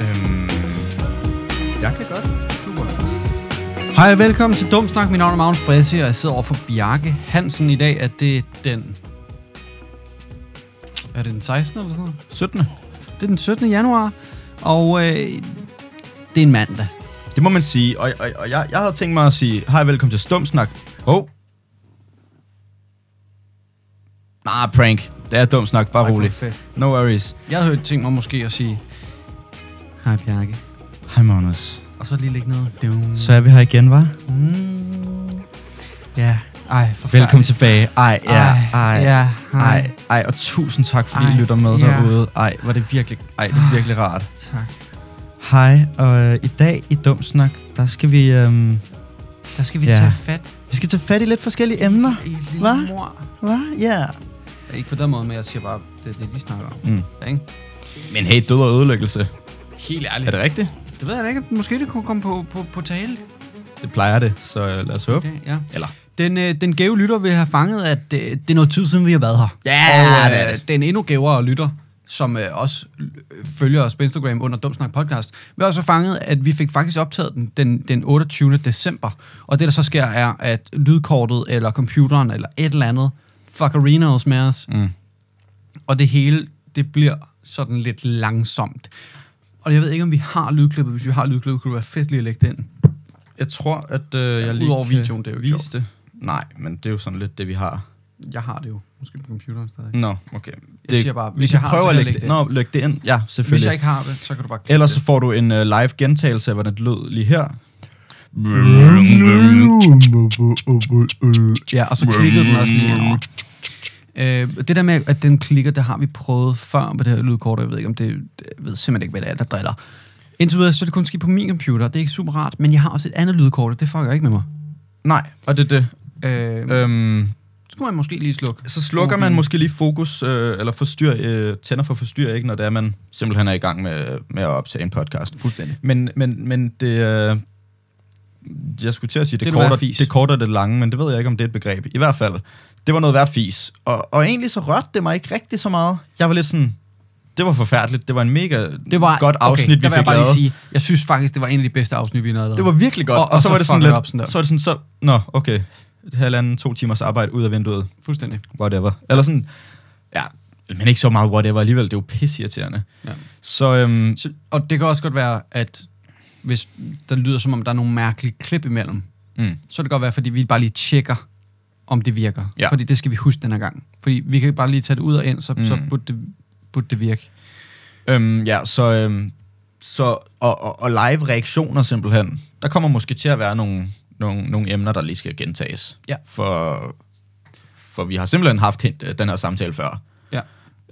Øhm, Hej og velkommen til Dumsnak. Mit navn er Magnus Bressi, og jeg sidder over for Bjarke Hansen i dag. Er det den... Er det den 16. eller sådan noget? 17. Det er den 17. januar, og øh, det er en mandag. Det må man sige, og, og, og jeg, jeg havde tænkt mig at sige, hej, velkommen til Stumsnak. Åh. Oh. Nah, Ah, prank. Det er dumt snak, bare Ej, rolig. hvor fedt. No worries. Jeg havde jo tænkt mig måske at sige, hej Bjarke, Hej, Magnus. og så lige lægge noget. Dum. Så er vi her igen, var? Mm. Ja, ej, forfærdeligt. Velkommen tilbage. Ej, ja, Ej, ej, ja, hej. ej, ej, og tusind tak, fordi Ej, I lytter med ja. derude. Ej, var det virkelig, ej, det er virkelig rart. Tak. Hej, og øh, i dag i Dumsnak, der skal vi, øhm, Der skal vi Ja. tage fat vi skal tage fat i lidt forskellige emner. i lille Hva? mor. Hvad? Ja. Yeah. Ikke på den måde, men jeg siger bare, det er det, de snakker om. Mm. Ikke? Men hey, død og ødelæggelse. Helt ærligt. Er det rigtigt? Det ved jeg da ikke. Måske det kunne komme på, på, på tale. Det plejer det, så øh, lad os håbe. Det, ja. Eller? Den, øh, den gave lytter vil have fanget, at øh, det er noget tid siden, vi har været her. Ja, og, øh, det er det. den endnu gavere lytter, som øh, også øh, følger os på Instagram under Dumsnak Podcast, vil også have fanget, at vi fik faktisk optaget den, den, den 28. december. Og det, der så sker, er, at lydkortet eller computeren eller et eller andet fuckerinos med os, Mm. og det hele, det bliver sådan lidt langsomt. Og jeg ved ikke, om vi har lydklippet. Hvis vi har lydklippet, kunne det være fedt lige at lægge det ind. Jeg tror, at øh, jeg lige udover kan videoen, det er jo ikke vise det. Nej, men det er jo sådan lidt det, vi har. Jeg har det jo, måske på computeren stadig. Nå, okay. Det, siger bare, vi hvis kan jeg har, prøve så kan at jeg lægge lægge det. det Nå, læg det ind. Ja, Hvis jeg selvfølgelig. ikke har det, så kan du bare klippe Ellers så det. får du en uh, live gentagelse af, hvordan det lød lige her. Ja, og så klikkede den også lige over. Øh, det der med, at den klikker, det har vi prøvet før på det her lydkort, og jeg ved, ikke, om det, jeg ved simpelthen ikke, hvad det er, der driller. Indtil videre, så er det kun sket på min computer, det er ikke super rart, men jeg har også et andet lydkort, og det fucker ikke med mig. Nej, og det er det. Øh, øh. Øhm, Skulle man måske lige slukke. så slukker man måske lige fokus, øh, eller forstyr, øh, tænder for forstyr, ikke, når det er, man simpelthen er i gang med, med at optage en podcast. Fuldstændig. Men, men, men det... Øh, jeg skulle til at sige, det, Det er det, noget korte, værd fis. det korte og det lange, men det ved jeg ikke, om det er et begreb. I hvert fald, det var noget værd fis. Og, og egentlig så rørte det mig ikke rigtig så meget. Jeg var lidt sådan, det var forfærdeligt. Det var en mega Det var, godt afsnit, okay, vi der fik vil jeg bare lavet. lige sige, jeg synes faktisk, det var en af de bedste afsnit, vi har lavet. Det var virkelig godt. Og- og så, så var det sådan fucker lidt, det op sådan der. så var det sådan, så, nå, okay, et halvanden, to timers arbejde ud af vinduet, fuldstændig. whatever. Eller sådan, ja, men ikke så meget whatever alligevel, det var pissirriterende. Ja. Så, øhm, Så, og det kan også godt være, at hvis der lyder, som om der er nogle mærkelige klip imellem, mm, så kan det godt være, fordi vi bare lige tjekker, om det virker. Ja. Fordi det skal vi huske den her gang. Fordi vi kan bare lige tage det ud og ind, så, mm. så Mm. burde, det, burde det virke. Øhm, ja, så, øhm, så og, og, og live reaktioner simpelthen. Der kommer måske til at være nogle, nogle, nogle emner, der lige skal gentages. Ja. For, for vi har simpelthen haft hint, øh, den her samtale før. Ja.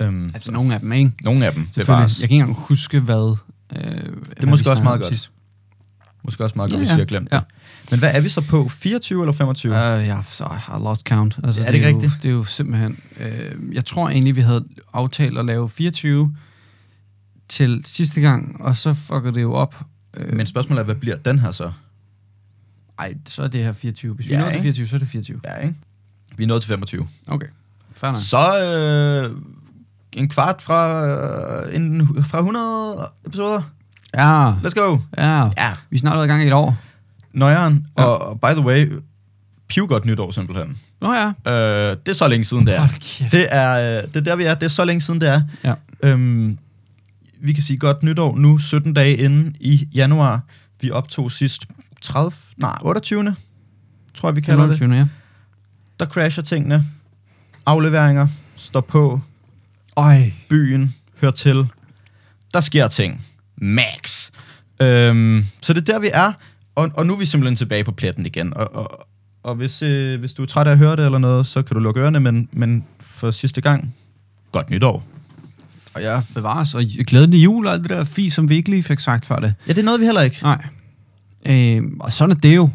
Øhm, altså, Altså nogle af dem, ikke? nogle af dem Selvfølgelig. bevares. Jeg kan ikke engang huske, hvad... Øh, det er måske også meget godt. Måske også meget godt, Ja, hvis ja. vi har glemt Ja. det. Men hvad er vi så på? 24 eller 25? Uh, Ja. jeg har- så har lost count. Altså, Er det ikke er Jo, rigtigt? det er jo simpelthen... Øh, jeg tror egentlig, vi havde aftalt at lave 24 til sidste gang, og så fucker det jo op. Øh, Men spørgsmålet er, hvad bliver den her så? Ej, så er det her 24. Hvis vi Ja, når til ikke? 24, så er det 24. Ja, ikke? Vi er nået til 25. Okay, fair nok. Så øh, en kvart fra, øh, en, fra 100 episoder. Ja, Let's go! ja. Ja, Vi er snart været i gang i et år. Nøjeren, Ja. ja. og, og by the way, piv godt nytår simpelthen. Nå ja. Øh, det er så længe siden, det er. Hold kæft. Det er, øh, det er der, vi er. Det er så længe siden, det er. Ja. Øhm, vi kan sige godt nytår nu, 17 dage inden i januar. Vi optog sidst 30, nej, 28. tror jeg, vi kalder det. 25. ja. Der crasher tingene. Afleveringer. Står på. Øj. Byen. Hør til. Der sker ting. Max. Øhm, så det er der, vi er. Og, og nu er vi simpelthen tilbage på pletten igen. Og, og, og hvis, øh, hvis du er træt af at høre det eller noget, så kan du lukke ørerne. Men, men for sidste gang, godt nytår. Og jeg bevares, og glædelig jul og alt det der fis, som vi ikke lige fik sagt før det. Ja, det nåede vi heller ikke. Nej. Øhm, og sådan er det jo.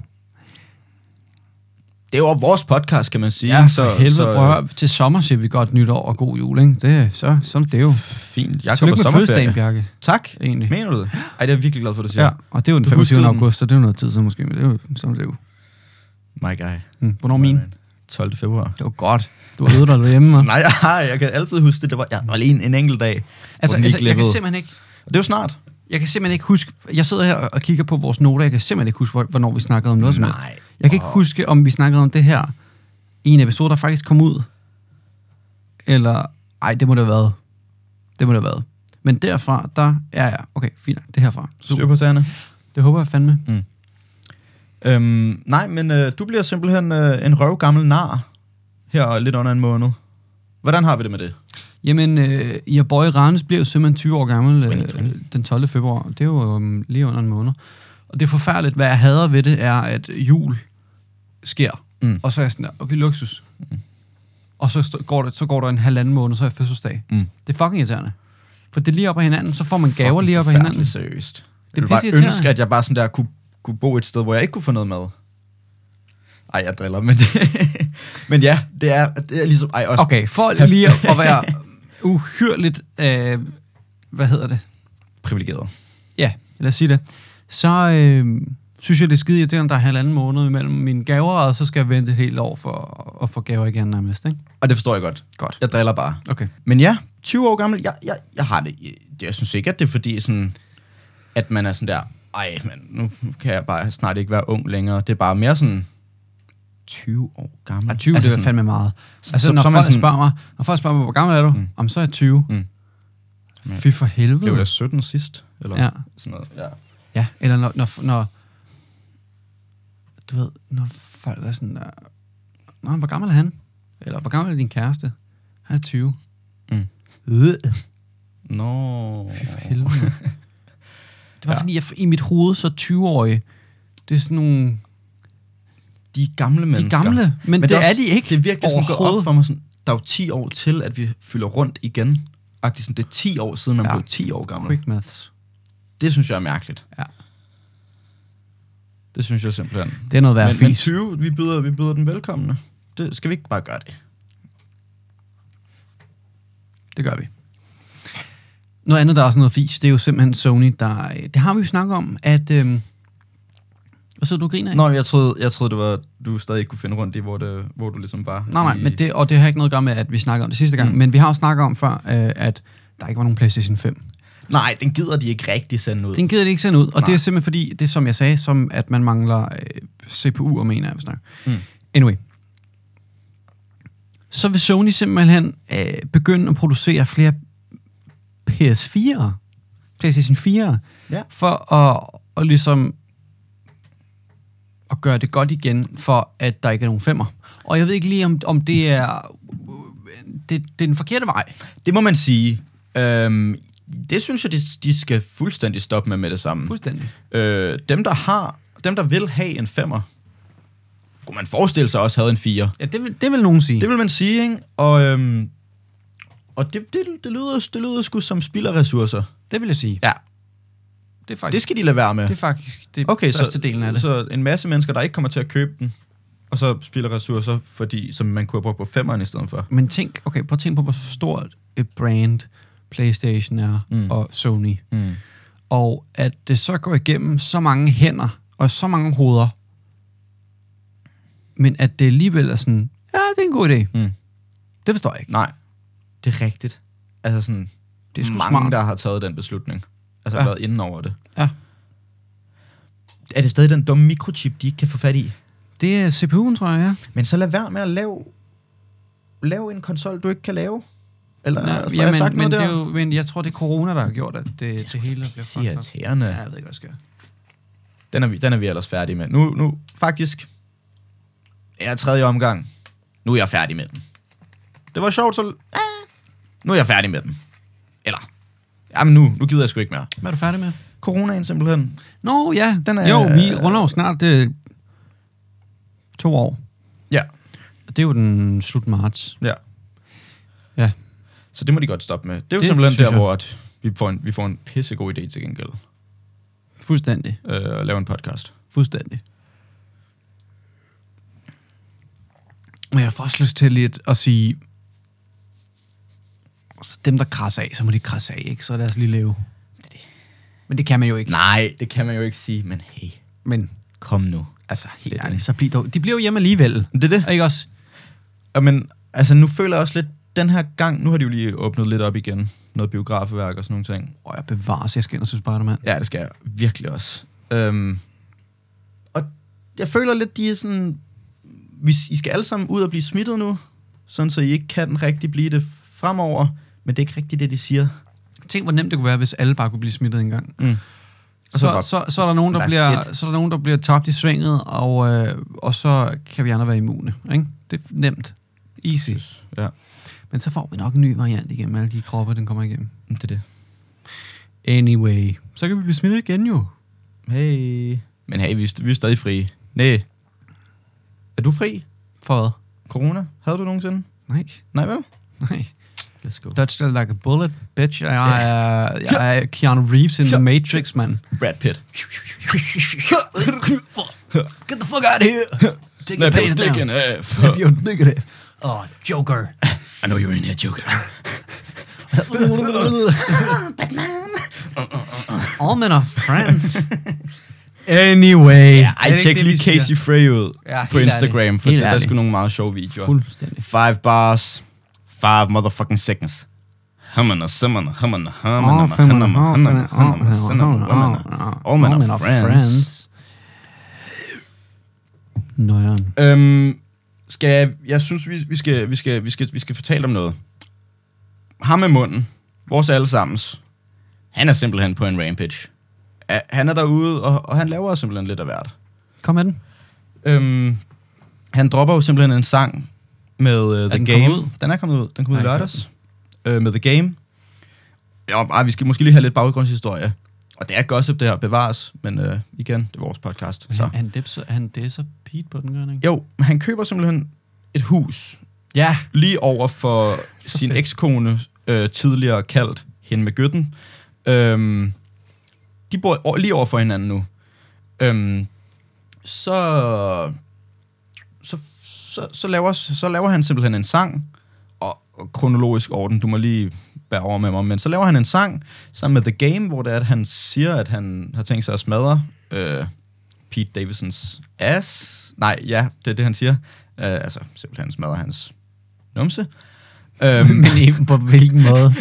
Det er jo vores podcast, kan man sige. Ja, så, for helvede, så, prøv at høre. Til sommer siger vi godt nytår og god jul, ikke? Det, så, sådan er det jo. Fint. Jeg går Tillykke på med fødselsdagen, sommerferie. Bjarke, Tak. egentlig. Mener du det? Ej, det er jeg virkelig glad for, at du siger. Øh. ja, og det er jo den Du huskede 25. den. august, så det er jo noget tid siden måske, men det er jo sådan er det jo. My guy. Hm. Hvornår min? 12. februar. Det var godt. Du har øvet dig derhjemme, og... Nej, jeg, jeg kan altid huske det. Det var, jeg var lige en, en enkelt dag, altså, hvor Altså, den lige altså jeg kan altså, simpelthen ikke... Det er jo snart. Jeg kan simpelthen ikke huske, jeg sidder her og kigger på vores noter, jeg kan simpelthen ikke huske, hvor- hvornår vi snakkede om noget som helst. Nej. Jeg kan ikke huske, om vi snakkede om det her i en episode, der faktisk kom ud. Eller, ej, det må det have været. Det må det have været. Men derfra, der er jeg. Okay, fint. nok, Det er herfra. Styr på sagerne. Det håber jeg fandme. Øhm, nej, men øh, du bliver simpelthen øh, en røvgammel nar her lidt under en måned. Hvordan har vi det med det? Jamen, øh, jeg boy Randes bliver jo simpelthen 20 år gammel øh, 2020. den 12. februar. Det er jo øh, lige under en måned. Og det er forfærdeligt. Hvad jeg hader ved det, er, at jul sker. Mm. Og så er jeg sådan der, okay, luksus. Mm. Og så st- går, det, så går der en halvanden måned, så er jeg fødselsdag. Mm. Det er fucking irriterende. For det er lige op ad hinanden, så får man gaver lige op ad hinanden. Seriøst. Det er Det jeg ville bare pisseirriterende. ønske, at jeg bare sådan der kunne, kunne bo et sted, hvor jeg ikke kunne få noget mad. Ej, jeg driller, men, men ja, det er, det er ligesom... Ej, også, Okay, for lige at at være uhyrligt, øh, hvad hedder det? privilegeret. Ja, lad os sige det. Så øh, synes jeg, det er skide irriterende, at der er halvanden måned imellem mine gaver, og så skal jeg vente et helt år for at få gaver igen nærmest, ikke? Og det forstår jeg godt. Godt. Jeg driller bare. Okay. Men ja, 20 år gammel, jeg, jeg, jeg har det. Jeg, jeg synes ikke, at det er fordi, sådan, at man er sådan der, ej, men nu kan jeg bare snart ikke være ung længere. Det er bare mere sådan 20 år gammel. Og 20, altså, det er sådan, fandme meget. Altså, så- så, når, så er man folk sådan- spørger mig, når folk spørger mig, hvor gammel er du? Mm. Om så er jeg 20. Mm. Mm. Fy for helvede. Blev jeg 17 sidst? Eller Ja. sådan noget. Ja. Ja, eller når, når, når du ved, når folk er sådan, der, Nå, hvor gammel er han? Eller hvor gammel er din kæreste? Han er 20. Mm. Øh, Nå. fy for helvede. mand. Det Ja. var ja. fordi, jeg i mit hoved så 20-årige, det er sådan nogle, De er gamle de er mennesker. gamle, men, men det, også- er de ikke Det er virkelig sådan gået op overhovedet. for mig. Sådan, der er jo 10 år til, at vi fylder rundt igen. Agtigt sådan, det er 10 år siden, man ja. Ja. blev 10 år gammel. Quick maths. Det synes jeg er mærkeligt. Ja. Det synes jeg simpelthen. Det er noget værd men, men fis. 20, vi byder, vi byder den velkomne. Det, skal vi ikke bare gøre det? Det gør vi. Noget andet, der er sådan noget fis, det er jo simpelthen Sony, der... øh, Det har vi jo snakket om, at... Øhm, hvad sidder du og griner af? Nå, jeg troede, jeg troede det var, du stadig ikke kunne finde rundt i, hvor, det, hvor du ligesom var. Nej, nej, i, men det, og det har ikke noget at gøre med, at vi snakker om det sidste gang, Mm. mm. men vi har jo snakket om før, øh, at der ikke var nogen PlayStation 5. nej, den gider de ikke rigtig sende ud. Den gider det ikke sende ud, og nej. det Nej. er simpelthen fordi, det er, som jeg sagde, som at man mangler øh, CPU'er, mener jeg, hvis nok. Mm. Mm. Anyway. Så vil Sony simpelthen øh, begynde at producere flere PS4'er, PlayStation 4'er, Ja. for at, at ligesom at gøre det godt igen, for at der ikke er nogen femmer. Og jeg ved ikke lige, om, om det er det, det er den forkerte vej. Det må man sige. Øhm, det synes jeg, de, de skal fuldstændig stoppe med med det samme. Fuldstændig. Øh, dem, der har, dem, der vil have en femmer, kunne man forestille sig også havde en fire. Ja, det vil, det vil nogen sige. Det vil man sige, ikke? Og, øhm, og det, det, det, lyder, det lyder sgu som spild af ressourcer. det vil jeg sige. Ja. Det er Det faktisk skal de lade være med. det, er faktisk det Okay, okay, så, største delen af det. så en masse mennesker, der ikke kommer til at købe den, og så spilder ressourcer, fordi, som man kunne have brugt på femmeren i stedet for. Men tænk, okay, prøv at tænke på, hvor stort et brand PlayStation er Mm. mm. og Sony. Mm. Og at det så går igennem så mange hænder og så mange hoveder, men at det alligevel er sådan, ja, det er en god idé. Mm. Det forstår jeg ikke. Nej, det er rigtigt. Altså sådan, Det er sgu mange, smart. der har taget den beslutning. Altså ja. Ja. været inde over det. Ja. Er det stadig den dumme mikrochip, de ikke kan få fat i? Det er CPU'en, tror jeg, ja. Men så lad være med at lave, lave en konsol, du ikke kan lave. Eller, ja, ja, får ja jeg men, sagt men, noget det der? er jo, men jeg tror, det er corona, der har gjort, at det, det, det hele bliver Det er fucked up. irriterende. Ja, jeg ved ikke, hvad jeg skal. Den er vi, den er vi ellers færdige med. Nu, nu faktisk, er jeg tredje omgang. Nu er jeg færdig med den. Det var sjovt, så... Ah, nu er jeg færdig med den. Eller... Jamen nu, nu gider jeg sgu ikke mere. Hvad er du færdig med? Coronaen simpelthen. Nå ja, Den den er- er, jo, vi runder jo snart øh, to år. Ja. Det er jo den slut marts. Ja. Ja. Så det må de godt stoppe med. Det er jo det Det simpelthen synes der, jeg. jeg. hvor at vi, får en, vi får en pissegod idé til gengæld. Fuldstændig. Øh, at lave en podcast. Fuldstændig. Men jeg får også lyst til lidt at sige, så dem, der krasser af, så må de krasse af, ikke? Så lad os lige leve. Men det kan man jo ikke. Nej, det kan man jo ikke sige, men hey, Men kom nu. altså, Det Mm. er helt det. ærligt, så bliver de, de bliver jo hjemme alligevel. Det er det. Ikke også? Og Men altså, nu føler jeg også lidt, den her gang, nu har de jo lige åbnet lidt op igen. Noget biografværk og sådan nogle ting. Og jeg bevarer sig, jeg skal ind og se Spider-Man. Ja, det skal jeg virkelig også. Øhm, og jeg føler lidt, de er sådan... Hvis I skal alle sammen ud og blive smittet nu, sådan så I ikke kan rigtig blive det fremover, men det er ikke rigtigt det, de siger. Tænk, hvor nemt det kunne være, hvis alle bare kunne blive smittet en gang. Mm. så Så, så, bare- så, så, er der nogen, der That's bliver, så er der nogen, der bliver tabt i svinget, og, øh, og så kan vi andre være immune. Ikke? Det er nemt. Easy. Ja, Men så får vi nok en ny variant igennem alle de kroppe, den kommer igennem. Mm, det er det. Anyway. Så kan vi blive smittet igen jo. Hey. Men hey, vi, er st- vi er stadig frie. Nej. Er du fri? For hvad? Corona? Havde du nogensinde? Nej. Nej, vel? Nej. Let's go. Dodge that like a bullet, bitch. Jeg er, jeg er Keanu Reeves in The Matrix, mand. Brad Pitt. Get the fuck out of here. Take your pants down. off. If you're digging it. Oh, Joker. I know you're in here, Joker. All men are friends. anyway. Ja, ej, tjek lige Casey Frey ud Ja, helt på Instagram, ærligt. for Helt der, der er ærligt. sgu nogle meget sjove videoer. Fuldstændig. Five bars, five motherfucking seconds. Hammerne, simmerne, hammerne, hammerne, hammerne, hammerne, hammerne, simmerne, hammerne. All men are friends. Nøjeren. Øhm, skal jeg, jeg synes, vi, vi, skal, vi, skal, vi, skal, vi skal fortælle om noget. Ham med munden, vores allesammens, han er simpelthen på en rampage. Ja, Han er derude, og, og han laver simpelthen lidt af hvert. Kom med den. Øhm, han dropper jo simpelthen en sang med uh, The den Game. kommet ud? Den er kommet ud. Den kom ud i Ej, lørdags. Øh, med The Game. Ja, ej, vi skal måske lige have lidt baggrundshistorie. Og det er gossip, det her bevares. Men øh, igen, det er vores podcast. Så. Han, han, dipser, han disser Pete på den gør, han ikke? Jo, men han køber simpelthen et hus Ja. lige over for sin ekskone, øh, tidligere kaldt hende med gytten. Øhm, de bor o- lige over for hinanden nu. Øhm, så, så, så, så, laver, så laver han simpelthen en sang, og, og kronologisk orden, du må lige bære over med mig, men så laver han en sang sammen med The Game, hvor det er, at han siger, at han har tænkt sig at smadre øh, Pete Davidsons ass. Nej, ja, det er det, han siger. Øh, altså, simpelthen smadre hans numse. Øhm, Men i- på hvilken måde?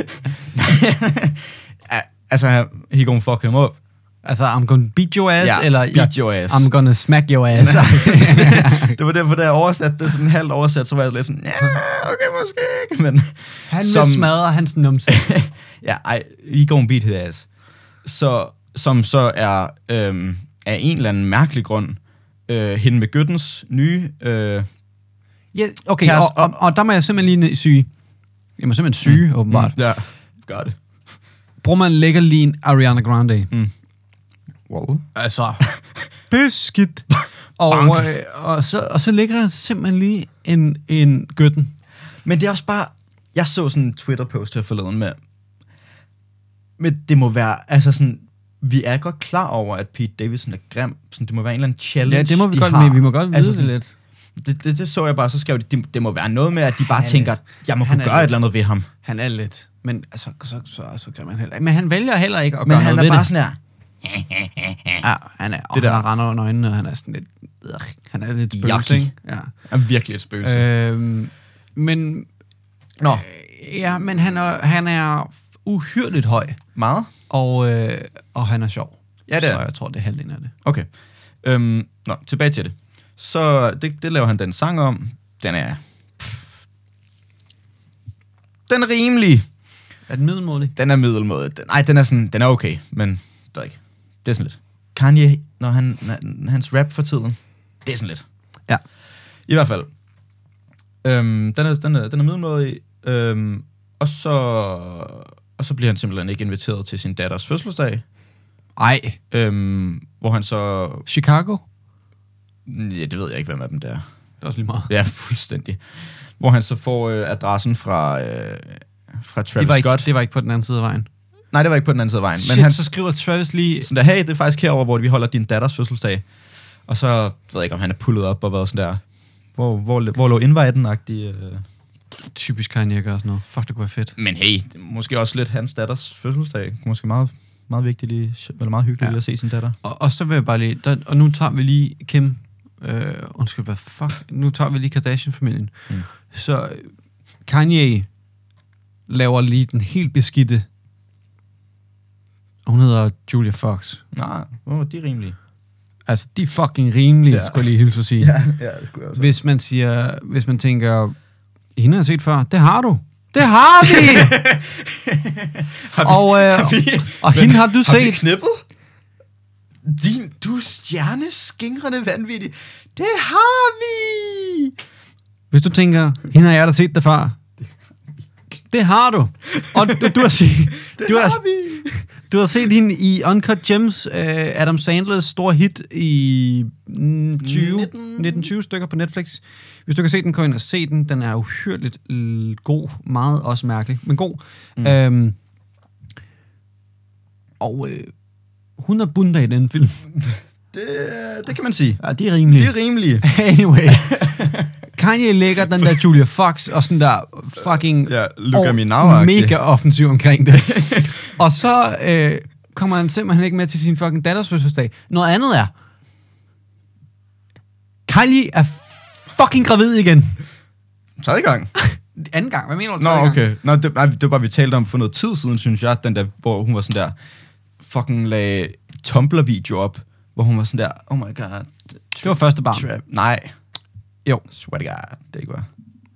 a- altså, he gonna fuck him up. Altså, I'm gonna beat your ass, Ja, eller beat your ass. I'm gonna smack your ass. Altså, det var derfor, da jeg oversatte det sådan halvt oversat, så var jeg lidt sådan, ja, okay, måske ikke, men... han som... vil smadre hans numse. ja, ej, he gonna beat his ass. Så, som så er øhm, af en eller anden mærkelig grund, øh, hende med Gyttens nye... Øh, ja, okay, Kæreste- og, og, og, der må jeg simpelthen lige syge. Jeg må simpelthen syge, mm. åbenbart. ja, gør det. Bruger man lækker lige en Ariana Grande. Mm. Wow. Altså, beskidt. Og, Banke. øh, og, så, og så ligger der simpelthen lige en, en gøtten. Men det er også bare... Jeg så sådan en Twitter-post her forleden med... Men det må være... Altså sådan... Vi er godt klar over, at Pete Davidson er grim. Sådan, det må være en eller anden challenge, Ja, det må vi de godt, har. men vi må godt vide altså, det sådan, lidt. Det, det, det så jeg bare, så skrev de, det, det må være noget med, at de bare Han er tænker, lidt- jeg må han kunne er gøre et lidt- eller andet ved ham. Han er lidt, men altså, så, så, så kan man heller ikke. Men han vælger heller ikke at Men gøre han noget er ved bare det. sådan her, Ja, han er, og Det det der. der. han render under øjnene, og han er sådan lidt... Øh, han er lidt Yucky. spøgelse, ikke? er virkelig et spøgelse. Øh, Ja. Øhm, men... øh, Nå, Ja, men han er, han er uhyrligt høj, meget? og, øh, og han er sjov. Ja, det er Så han. jeg tror, det er halvdelen af det. Okay. Øhm, nå, tilbage til det. Så det, det laver han den sang om. Den er... pff. Den er rimelig. Er den middelmådig? Den er middelmåde. Den, nej, den er sådan, den er okay, men det er ikke. Det er sådan lidt. Kanye, når han, når, hans rap for tiden, det er sådan lidt. Ja. I hvert fald. Øhm, den, er, den, er, den er middelmådig. Øhm, og så... Og så bliver han simpelthen ikke inviteret til sin datters fødselsdag, Ej. øhm, hvor han så... Chicago? Ja, det ved jeg ikke, hvem af dem det er. Det er også lige meget. Ja, fuldstændig. Hvor han så får øh, adressen fra, øh, fra Travis Det var, ikke, Scott. det var ikke på den anden side af vejen. Nej, det var ikke på den anden side af vejen. Shit, men han, så skriver Travis lige... sådan der, hey, det er faktisk herover, hvor vi holder din datters fødselsdag. Og så ved jeg ikke, om han er pullet op og været sådan der, hvor, hvor, hvor lå inviten-agtig. Øh. Typisk Kanye gør sådan noget. Fuck, det kunne være fedt. Men hey, det er måske også lidt hans datters fødselsdag. Måske meget, meget vigtigt, lige, eller meget hyggeligt Ja. ja. at se sin datter. Og, og så vil jeg bare lige... Der, og nu tager vi lige Kim... Øh, undskyld, hvad fuck? Nu tager vi lige Kardashian-familien. Mm. Mm. Så øh, Kanye laver lige den helt beskidte... Hun hedder Julia Fox. Nej, oh, de er rimelige. Altså, de er fucking rimelige, Ja. ja. skulle jeg lige hilse at sige. Ja. ja, det skulle jeg Hvis man siger, hvis man tænker, hende har jeg set før, det har du. Det har vi! Har vi, og, øh, har vi, og hende har du har vi set. knippet? Din, du er stjerneskingrende vanvittig. Det har vi! Hvis du tænker, hende har jeg da set det før. Det har du. Og du, du har set, Det du har har, vi! du har set hende i Uncut Gems, øh, Adam Sandlers store hit i mm, 20, 19. 19-20 stykker på Netflix. Hvis du kan se den, kom ind og se den. Den er uhyrligt øh, god, meget også mærkelig, men god. Mm. Øhm, og øh, hun er bunda i den film. Det, det kan man sige. Ja, det er rimeligt. Det er rimelige. Anyway. Kanye lægger den der Julia Fox og sådan der fucking Ja, look at me og now-agtig. mega offensiv omkring det. og så øh, kommer han simpelthen ikke med til sin fucking datters fødselsdag. Noget andet er, Kylie er fucking gravid igen. Tredje gang. Anden gang, hvad mener du? Nå, tredje gang? okay. Nå, det, nej, det var, vi talte om for noget tid siden, synes jeg, den der, hvor hun var sådan der, fucking lagde Tumblr-video op, hvor hun var sådan der, oh my god. Det var første barn, Trap. Nej. Jo. Swear to god, det ikke var.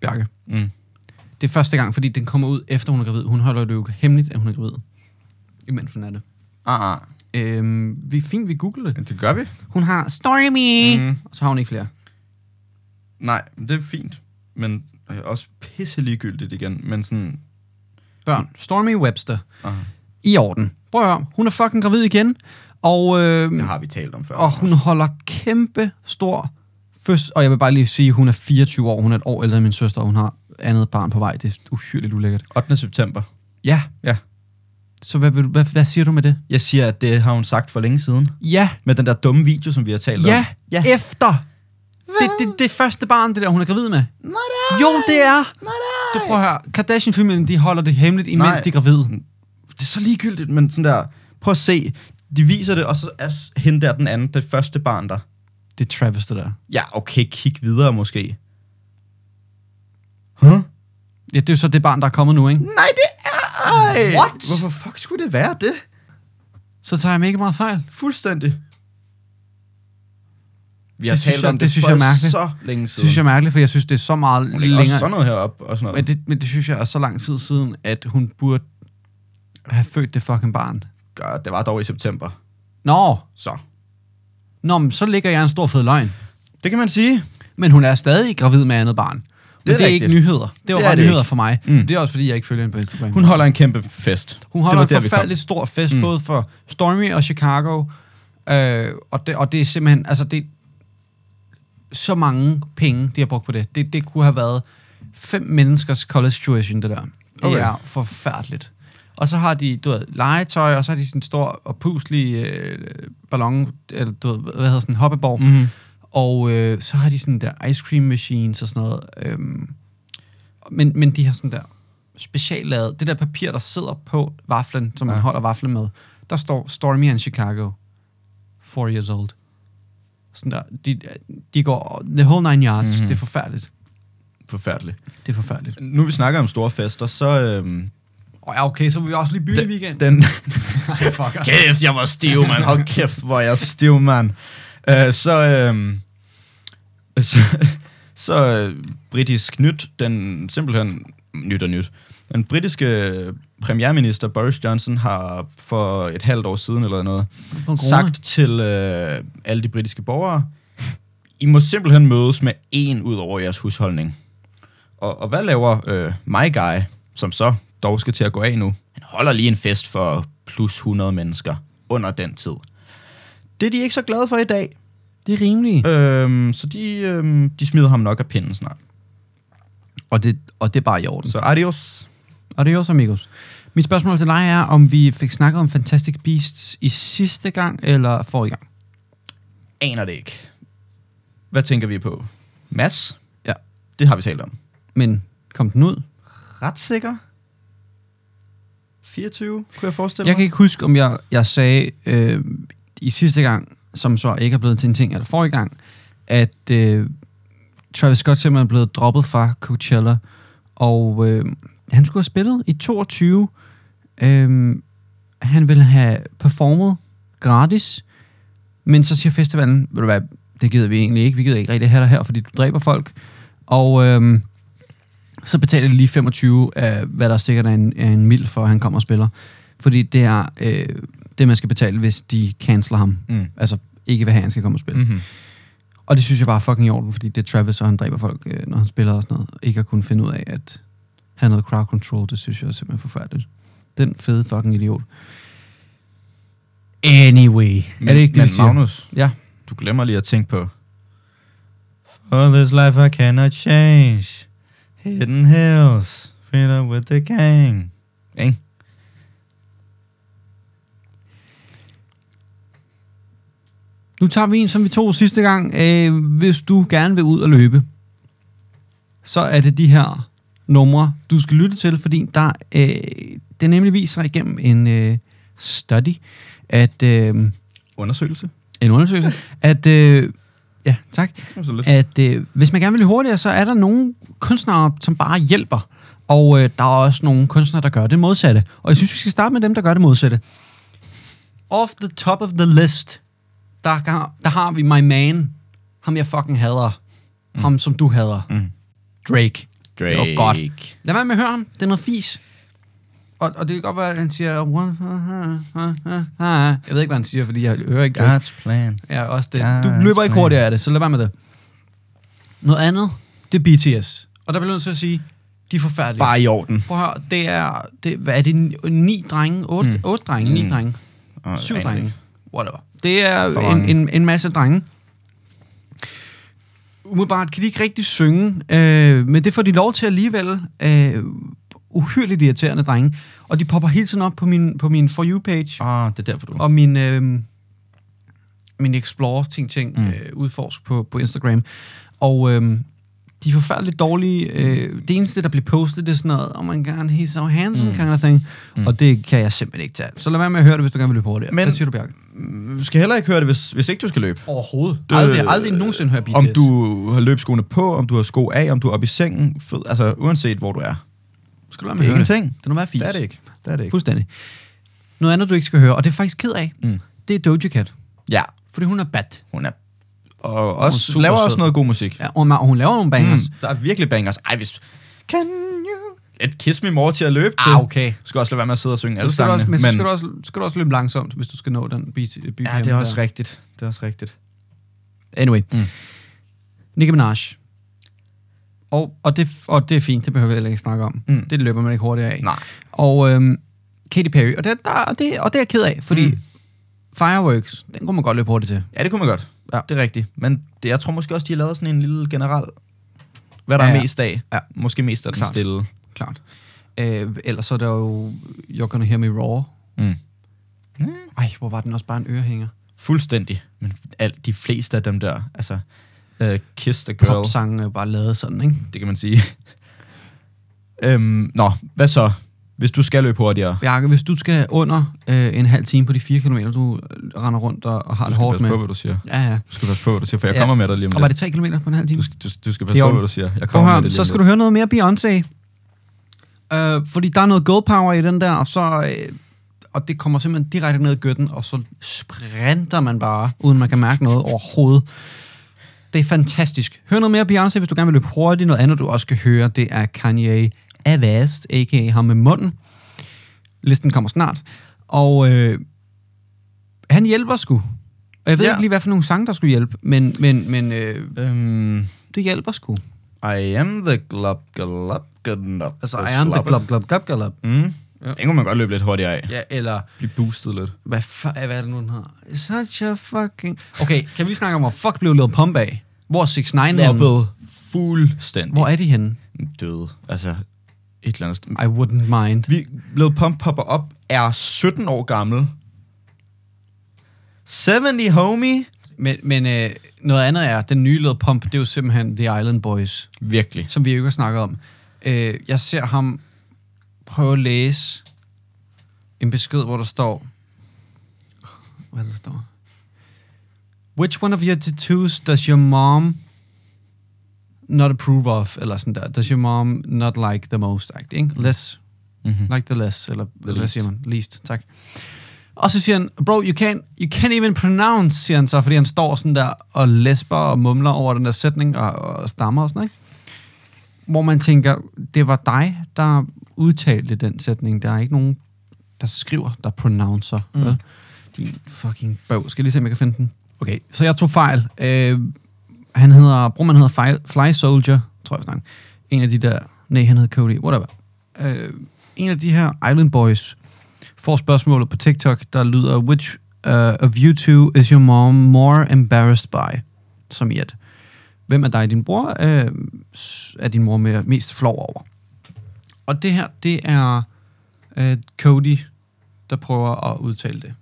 Bjarke. Mm. Det er første gang, fordi den kommer ud efter hun er gravid. Hun holder det jo hemmeligt, at hun er gravid. Imens hun er det. Ah, ah. Øhm, vi er fint, vi googler det. Det gør vi. Hun har Stormy, Mm. mm. og så har hun ikke flere. Nej, det er fint. Men øh, også pisse ligegyldigt igen. Men sådan... børn. Stormy Webster. Aha. I orden. Prøv at høre, hun er fucking gravid igen, og, øh, Det har vi talt om før. og hun holder kæmpe stor fødsel. Og jeg vil bare lige sige, hun er 24 år, hun er et år ældre end min søster, og hun har andet barn på vej. Det er uhyrligt ulækkert. 8. september. Ja. Ja. Så hvad, vil du- hvad, hvad siger du med det? Jeg siger, at det har hun sagt for længe siden. Ja, Med den der dumme video, som vi har talt om. ja, ja. efter. Det, det, det er første barn, det der, hun er gravid med. Jo, det er. Det, prøv at høre, Kardashian-familien, de holder det hemmeligt, imens Nej. de er gravide. det er så ligegyldigt, men sådan der, prøv at se, de viser det, og så er s- hende der den anden, det første barn der. Det er Travis, det der. Ja, okay, kig videre måske. Huh? Ja, det er jo så det barn, der er kommet nu, ikke? Nej, det er ej. What? Hvorfor fuck skulle det være det? Så tager jeg mega meget fejl. Fuldstændig. Vi har Det synes talt jeg- om det, det synes jeg er for mærkeligt. så længe Det siden. synes jeg er mærkeligt, for jeg synes, det er så meget Hun lægger også længere. sådan noget heroppe og sådan noget. Men det, men det synes jeg er så lang tid siden, at hun burde have født det fucking barn. Gør, det var dog i september. Nå, Så. nå men så ligger jeg en stor fed løgn. Det kan man sige. Men hun er stadig gravid med andet barn. Men det er, det er rigtigt. ikke nyheder. Det var Det det er bare det nyheder ikke. for mig. Mm. Mm. Det er også fordi, jeg ikke følger hende på Instagram. Hun holder en kæmpe fest. hun holder en forfærdelig stor fest, mm. både for Stormy og Chicago. Øh, og, det, og det er simpelthen, altså det så mange penge, de har brugt på det. Det, det kunne have været fem menneskers college tuition, det der. Det Okay. okay. er forfærdeligt. Og så har de, du ved, legetøj, og så har de sådan en stor og puslig øh, ballon, eller du ved, hvad hedder sådan en hoppeborg. Mhm. Og øh, så har de sådan der ice cream machines og sådan noget. Øhm, men, men de har sådan der speciallavet, det der papir, der sidder på vaflen, som man Ja. holder vaflen med, der står Stormy and Chicago, four years old. Sådan der, de, de går the whole nine yards, Mhm. mm-hmm. det er forfærdeligt. Forfærdelig. Det er forfærdeligt. Nu vi snakker om store fester, så... Øhm, Og ja, okay, så vil vi også lige bygge i weekend. den, Ej, altså. fucker. Kæft, jeg var stiv, mand. Hold kæft, hvor er jeg stiv, mand. Uh, så, øhm, så, så øh, britisk nyt, den simpelthen nyt og nyt. Den britiske premierminister Boris Johnson har for et halvt år siden eller noget For en corona. sagt til øh, alle de britiske borgere, I må simpelthen mødes med en ud over jeres husholdning. Og, og hvad laver øh, My Guy, som så dog skal til at gå af nu? Han holder lige en fest for plus 100 mennesker under den tid. Det er de ikke så glade for i dag, Det er rimeligt. øhm, så de, øhm, de smider ham nok af pinden snart. Og det, og det er bare i orden. Så adios. Og det er også amigos. Mit spørgsmål til dig er, om vi fik snakket om Fantastic Beasts i sidste gang, eller forrige gang? Aner det ikke. Hvad tænker vi på? Mads? Ja. Det har vi talt om. Men kom den ud? ret sikker. 24, kunne jeg forestille Jeg mig. kan ikke huske, om jeg, jeg sagde øh, i sidste gang, som så ikke er blevet til en ting, eller forrige gang, at øh, Travis Scott simpelthen er blevet droppet fra Coachella, og øh, han skulle have spillet i 22. Øhm, han ville have performet gratis, men så siger festivalen, ved du hvad, det gider vi egentlig ikke, vi gider ikke rigtig have dig her, fordi du dræber folk. Og øhm, så betaler de lige 25 af, hvad der sikkert er en, er en mil for, at han kommer og spiller. Fordi det er øh, det, man skal betale, hvis de canceler ham. Mm. Altså ikke vil have, at han skal komme og spille. Mm-hmm. Og det synes jeg bare er fucking i orden, fordi det er Travis, og han dræber folk, øh, når han spiller og sådan noget. Ikke at kunne finde ud af at have noget crowd control, det synes jeg er simpelthen forfærdeligt. Den fede fucking idiot. Anyway. Men, er det ikke det, men vi siger? Magnus, Ja. du glemmer lige at tænke på... For this life I cannot change. Hidden hills. Fit up with the gang. Ikke? Nu tager vi en, som vi tog sidste gang. Øh, hvis du gerne vil ud og løbe, så er det de her numre, du skal lytte til, fordi der, øh, det nemlig viser igennem en øh, study, at øh, Undersøgelse. en undersøgelse, at øh, ja, tak, Det er så lidt. at øh, hvis man gerne vil løbe hurtigere, så er der nogle kunstnere, som bare hjælper. Og øh, der er også nogle kunstnere, der gør det modsatte. Og jeg synes, vi skal starte med dem, der gør det modsatte. Off the top of the list, der, har- der har vi my man. Ham jeg fucking hader. Mm. Ham som du hader. Mm. Drake. Det var godt. Drake. Lad være med at høre ham. Det er noget fis. Og, og det kan godt være, at han siger... "One, ha, ha, ha, ha, ha." Jeg ved ikke, hvad han siger, fordi jeg hører ikke Drake. God's plan. Ja, også det. Ja, Du løber ikke sgu. hurtigere af det, så lad være med det. Noget andet, det er BTS. Og der bliver jeg nødt til at sige, de er forfærdelige. Bare i orden. Prøv at høre, det er, det, hvad er det, ni- ni drenge, otte, Mm. mm. otte drenge, ni Mm. drenge, Og syv aner drenge, ikke. whatever. Det er For en, mange. en, en masse drenge. Umiddelbart kan de ikke rigtig synge, øh, men det får de lov til alligevel. Øh, uhyreligt irriterende drenge. Og de popper hele tiden op på min, på min For You-page Åh, Ah, det er derfor, du... og min, øh, min explore ting ting Mm. mm. øh, udforsk på, på Instagram. Og øh, de er forfærdeligt dårlige. Øh, det eneste, der bliver postet, det er sådan noget, oh my god, he's so handsome Mm. mm. kind of thing. Mm. Mm. Og det kan jeg simpelthen ikke tage. Så lad være med at høre det, hvis du gerne vil løbe hurtigere. Men- Men, Hvad siger du, Bjarke? Du skal heller ikke høre det, hvis, hvis ikke du skal løbe. Overhovedet. Det- Det, aldrig, aldrig nogensinde høre BTS. Øh, Om du har løbskoene på, om du har sko af, om du er oppe i sengen. Fed, altså, uanset hvor du er. skal du lade Det med er at høre det. ingenting. Det er noget værd fis. Det er det ikke. Det er det ikke. Fuldstændig. Noget andet, du ikke skal høre, og det er jeg faktisk ked af, Mm. det er Doja Cat. Ja, Fordi hun er bad. hun er... Og også, super hun laver også sød. noget god musik. Ja, og hun laver nogle bangers. Mm. der er virkelig bangers. Ej, hvis... Can you... Let kiss me more til at løbe til. Ah, okay. Du skal også lade være med at sidde og synge alle Så skal du sangene. også, men, så skal du, også, skal du også løbe langsomt, hvis du skal nå den beat. BPM ja, det er også der. rigtigt. Det er også rigtigt. Anyway. Mm. Mm. Nicki Minaj. Og, og, det, og det er fint, det behøver vi heller ikke snakke om. Mm. Mm. Det løber man ikke hurtigere af. Nej. Og øhm, Katy Perry, og det, der, og, det, og det er jeg ked af, fordi Mm. mm. Fireworks, den kunne man godt løbe hurtigt til. Ja, det kunne man godt. Ja. Det er rigtigt. Men det, jeg tror måske også, de har lavet sådan en lille general... Hvad der Ja, er ja. mest af. Ja. Måske mest af den Klart. stille. Klart. Øh, ellers så er der jo You're Gonna Hear Me Raw. Mm. Ej, hvor var den også bare en ørehænger. Fuldstændig. Men alt, de fleste af dem der, altså... Uh, kiss the girl. Popsangen er jo bare lavet sådan, ikke? Det kan man sige. øhm, nå, hvad så? Hvis du skal løbe hurtigere, Bjarke, hvis du skal under øh, en halv time på de 4 km, du øh, render rundt og, og har du det skal hårdt passe med. på, hvad du siger. Ja, ja. Du skal passe på, hvad du siger, for jeg Ja. kommer med dig lige om Og var lidt. det 3 km på en halv time? Du skal, du, du skal Det passe er på, orden. hvad du siger. Jeg Prøv kommer med her, det så skal du høre noget mere Beyoncé. Uh, fordi der er noget girl power i den der, og så... Øh, og det kommer simpelthen direkte ned i gøtten, og så sprinter man bare, uden man kan mærke noget overhovedet. Det er fantastisk. Hør noget mere Beyoncé, hvis du gerne vil løbe hurtigt. Noget andet, du også skal høre, det er Kanye Avast, a.k.a. ham med munden. Listen kommer snart. Og øh, han hjælper sgu. Og jeg ved Ja. ja. ikke lige, hvad for nogle sange, der skulle hjælpe, men, men, men øh, Øhm, det hjælper sgu. I am the glub, glub, glub. Altså, I am the glop, glop, glop, glop. Mm. Ja. Den kunne man godt løbe lidt hurtigere af. Ja, eller... Blive boostet lidt. Hvad, fa- hvad er det nu, den hedder? Such a fucking... Okay, kan vi lige snakke om, hvor fuck blev Lil Pump af? Hvor er 6 9 henne? Floppet fuldstændig. Hvor er de henne? Døde. Altså, et eller andet sted. I wouldn't mind. Vi, Lil Pump popper op, er 17 år gammel. 70, homie. Men, men øh, noget andet er, den nye Lil Pump, det er jo simpelthen The Island Boys, Virkelig. som vi jo ikke har snakket om. Øh, jeg ser ham prøve at læse en besked, hvor der står... Hvad er det, der står? Which one of your tattoos does your mom not approve of, eller sådan der. Does your mom not like the most, agtig, ikke? Less, Mm-hmm. like the less, eller the hvad least. siger man? Least, tak. Og så siger han, bro, you can't, you can't even pronounce, siger han så, fordi han står sådan der og lesber og mumler over den der sætning og, og stammer og sådan, ikke? Hvor man tænker, det var dig, der udtalte den sætning. Der er ikke nogen, der skriver, der pronouncer. Mm. Vel? Din fucking bøv. Skal jeg lige se, om jeg kan finde den? Okay, så jeg tog fejl. Øh, han hedder, brormand hedder Fly, Fly Soldier, tror jeg snakker. En af de der, nej, han hedder Cody, whatever. Øh, en af de her Island Boys får spørgsmålet på TikTok, der lyder, which uh, of you two is your mom more embarrassed by? Som i at, hvem er dig, din bror, øh, s- er din mor mere, mest flov over? Og det her, det er øh, Cody, der prøver at udtale det.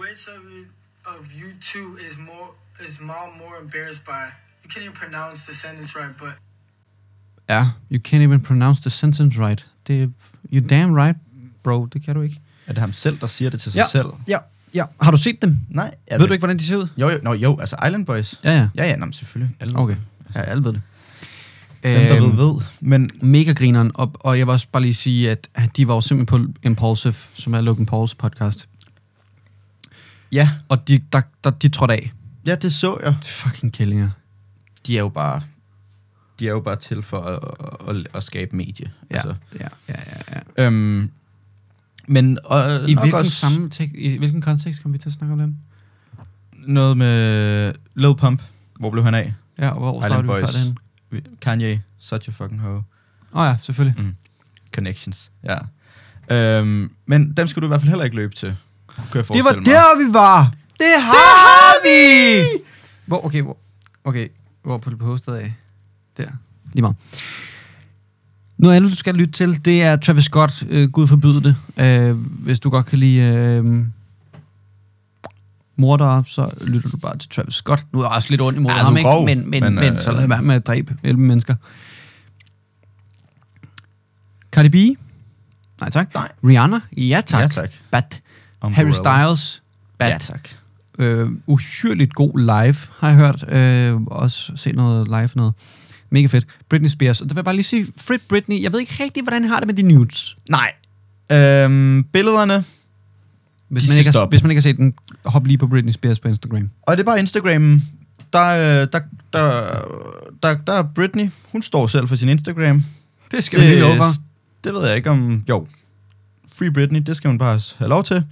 Which of you, of you two is more is mom more embarrassed by? You can't even pronounce the sentence right, but Ja, you can't even pronounce the sentence right. Det er, you damn right, bro, det kan du ikke. Er det ham selv, der siger det til sig selv? ja, ja. Har du set dem? Nej. Altså, ved du ikke, hvordan de ser ud? Jo, jo, no, jo altså Island Boys. Ja, ja. Ja, ja, nå, men selvfølgelig. Alle, Okay. Øhm. Ja, alle ved det. Dem, der ved, ved. Men Mega grineren, og, og jeg vil også bare lige sige, at de var jo simpelthen på Impulsive, som er Logan Pauls podcast. ja, Og de, der, der, de trådte af. ja, det så jeg. Fucking kællinger. De er jo bare, de er jo bare til for at, at, at skabe medie. Ja, altså. ja, ja, ja, ja. Øhm, men og, I nok hvilken, også samme tek- I hvilken kontekst kom vi til at snakke om dem? noget med Lil Pump. Hvor blev han af? Ja, og hvor Island startede vi før Boys. det henne? Kanye, such a fucking hoe. Åh oh, ja, selvfølgelig. Connections, ja. Øhm, men dem skulle du i hvert fald heller ikke løbe til, kunne jeg Det var forestille mig. der, vi var! Det har, det har vi! Hvor, okay, hvor, okay, hvor på, på hostet af? Der. Lige meget. Noget andet, du skal lytte til, det er Travis Scott, øh, Gud forbyde det. Øh, hvis du godt kan lide øh, mordere, så lytter du bare til Travis Scott. Nu er jeg også lidt ondt imod Ja, ja, du er ham, ikke? grov, Men, men, men, men, men øh, så lad være med at dræbe 11 mennesker. Cardi B? Nej tak. Nej. Rihanna? Ja tak. Ja, tak. Bad. Harry Umbrella. Styles? Bad Ja, tak. øh, uhyrligt god live, har jeg hørt. Øh, også set noget live noget. Mega fedt. Britney Spears. Og der vil jeg bare lige sige, Frit Britney, jeg ved ikke rigtig, hvordan jeg har det med de nudes. Nej. Øhm, billederne, Hvis, De man skal ikke, har, stoppe. hvis man ikke har set den, hop lige på Britney Spears på Instagram. og det er bare Instagram. Der, øh, der, der, der, der er Britney, hun står selv for sin Instagram. Det skal vi lige love for. Det ved jeg ikke om... Jo, Free Britney, det skal hun bare have lov til.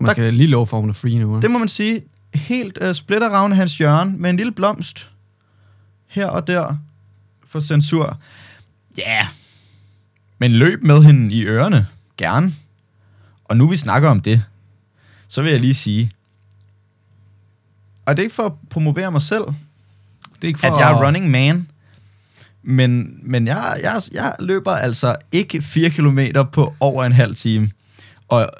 Man tak. skal lige love for, at hun er free nu. Det, Det må man sige, helt øh, splitteravne hans hjørne med en lille blomst her og der for censur. Ja, yeah. men løb med hende i ørerne, gerne. Og nu vi snakker om det, så vil jeg lige sige, og det er ikke for at promovere mig selv, det er ikke for at jeg er running man, men, men jeg, jeg, jeg løber altså ikke 4 km på over en halv time. Og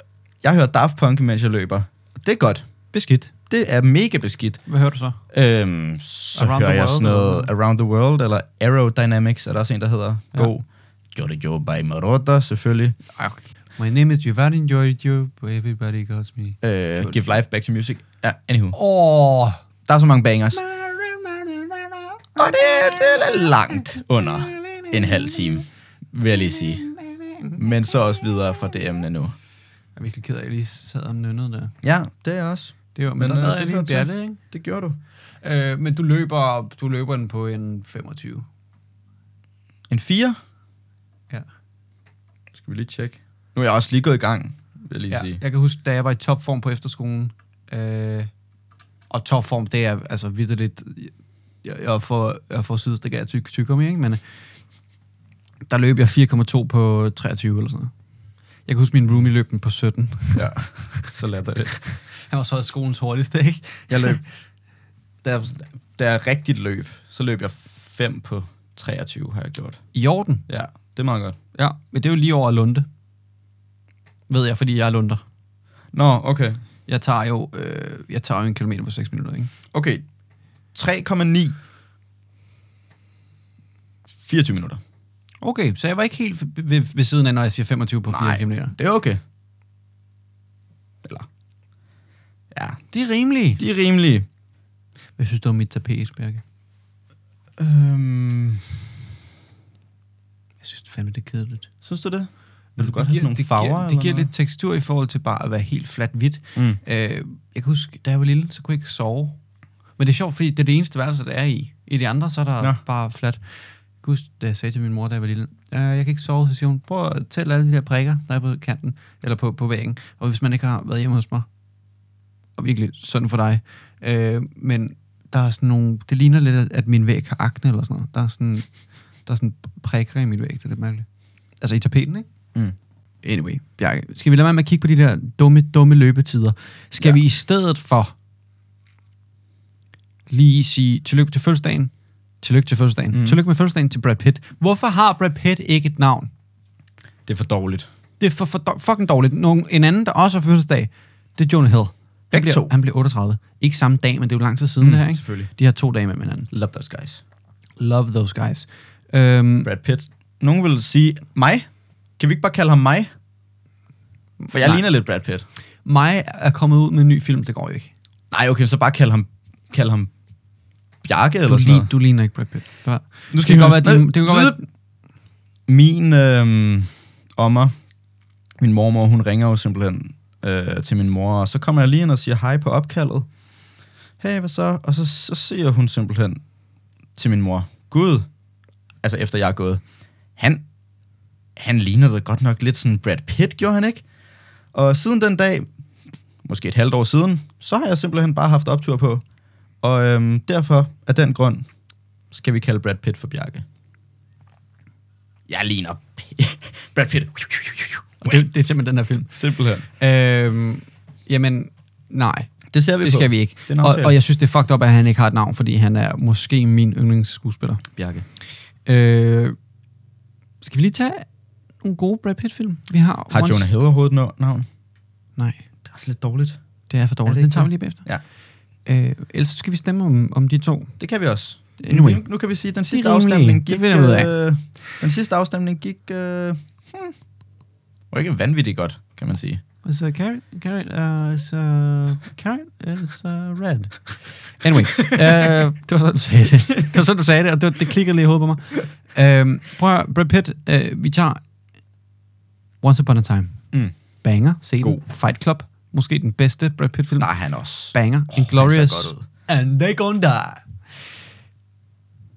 jeg hører Daft Punk, mens jeg løber. Det er godt. Beskidt. Det er mega beskidt. Hvad hører du så? Øhm, så Around around hører the jeg World, sådan noget eller Around the World, eller Aerodynamics, er der også en, der hedder. Ja. Ja. God. Giorgio by Marotta, selvfølgelig. My name is Giovanni Giorgio, but everybody calls me. Øh, give life back to music. Ja, anywho. Åh. Oh. Der er så mange bangers. Og det, det er langt under en halv time, vil jeg lige sige. Men så også videre fra det emne nu. Jeg er virkelig ked af, at jeg lige sad og nynnede der. Ja, det er også. Det var, men, Men, men der øh, lavede det jeg lige hører en til. bjalle, ikke? Det gjorde du. Øh, men du løber, du løber den på en 25. En 4? Ja. Skal vi lige tjekke. Nu er jeg også lige gået i gang, vil jeg lige ja. ja. sige. Jeg kan huske, da jeg var i topform på efterskolen, øh, og topform, det er altså vidderligt, jeg, jeg får, jeg får sidestik af tyk, tykker ikke? men øh, der løb jeg 4,2 på 23 eller sådan noget. Jeg kan huske, min roomie løb den på 17. Ja, så lader det. Han var så skolens hurtigste, ikke? Jeg løb, da jeg, da jeg rigtigt løb, så løb jeg 5 på 23, har jeg gjort. I orden. Ja, det er meget godt. Ja, men det er jo lige over at lunde. Ved jeg, fordi jeg er lunder. Nå, okay. Jeg tager jo, øh, jeg tager jo en kilometer på 6 minutter, ikke? Okay, 3,9. 24 minutter. Okay, så jeg var ikke helt ved, ved, ved siden af, når jeg siger 25 på 4 Nej. km. Det er okay. Eller? Ja, Det er rimeligt. de er rimelige. Jeg synes, det var mit tapet, Bjarke. Øhm, Jeg synes fandme, det er kedeligt. synes du det? Vil du Altså, Det godt have giver- sådan nogle det farver? Giver, det eller giver noget? lidt tekstur i forhold til bare at være helt flat hvidt. Mm. Øh, jeg kan huske, da jeg var lille, så kunne jeg ikke sove. Men det er sjovt, fordi det er det eneste værelse, der er i. I de andre, så er der Nå. ja. bare flat. Jeg kan huske, da jeg sagde til min mor, da jeg var lille, øh, jeg kan ikke sove, så siger hun, prøv at tælle alle de der prikker, der er på kanten, eller på, på væggen. Og hvis man ikke har været hjemme hos mig, og virkelig sådan for dig, øh, men der er sådan nogle, det ligner lidt, at- at min væg har akne eller sådan noget. Der er sådan, der er sådan prikker i min væg, det er lidt mærkeligt. Altså i tapeten, ikke? Mm. Anyway, Bjarke, skal vi lade være med at kigge på de der dumme, dumme løbetider? Skal Ja. ja. vi i stedet for lige sige tillykke til fødselsdagen, tillykke til fødselsdagen, Mm. mm. tillykke med fødselsdagen til Brad Pitt. Hvorfor har Brad Pitt ikke et navn? Det er for dårligt. Det er for, for do- fucking dårligt. Nogen, en anden, der også har fødselsdag, det er Jonah Hill. Han Begge bliver, to. han bliver 38. Ikke samme dag, men det er jo lang tid siden Mm, det her, ikke? selvfølgelig. De har to dage med hinanden. Love those guys. Love those guys. Øhm, Brad Pitt. Nogen vil sige, mig? Kan vi ikke bare kalde ham mig? For jeg Nej. Nej. ligner lidt Brad Pitt. mig er kommet ud med en ny film, det går jo ikke. Nej, okay, så bare kalde ham, kalde ham Bjarke Du, eller sådan lig, noget. du ligner ikke Brad Pitt. Du har- Nu det kan godt være, det, det kan godt være, Min øh, ommer, min mormor, hun ringer jo simpelthen øh, til min mor, og så kommer jeg lige ind og siger hej på opkaldet. Hey, hvad så? Og så, så siger hun simpelthen til min mor, Gud, altså efter jeg er gået, han, han ligner da godt nok lidt sådan Brad Pitt, gjorde han ikke? Og siden den dag, måske et halvt år siden, så har jeg simpelthen bare haft optur på. Og øhm, derfor, af den grund, skal vi kalde Brad Pitt for Bjarke. Jeg ligner Brad Pitt. det, det er simpelthen den her film. Simpelthen. Øhm, jamen, nej. Det ser vi Det på. skal vi ikke. Det er en Og, aftale. og jeg synes, det er fucked up, at han ikke har et navn, fordi han er måske min yndlingsskuespiller. Bjarke. Øh, skal vi lige tage nogle gode Brad Pitt-film? Vi har, Har Jonah Hill overhovedet no- navn? Nej, Det er også lidt dårligt. det er for Er dårligt. det Den ikke tager vi det? lige bagefter. Ja. Øh, ellers så skal vi stemme om, om de to. Det kan vi også. Anyway. Nu, nu kan vi sige, at den sidste rimelige. afstemning Det gik... finder vi ud af. øh, den sidste afstemning gik... Øh, hmm, var ikke vanvittigt godt, kan man sige. Og så Carrot, Carrot, uh, så Carrot, and så Red. Anyway, uh, det var sådan, du sagde det. Det var sådan, du sagde det, og det, var- det klikkede lige i hovedet på mig. Uh, prøv at høre, Brad Pitt, uh, vi tager Once Upon a Time. Mm. Banger, se God. den. Fight Club, måske den bedste Brad Pitt-film. Der er han også. Banger, han oh, ser Inglorious, godt ud. and they gonna die.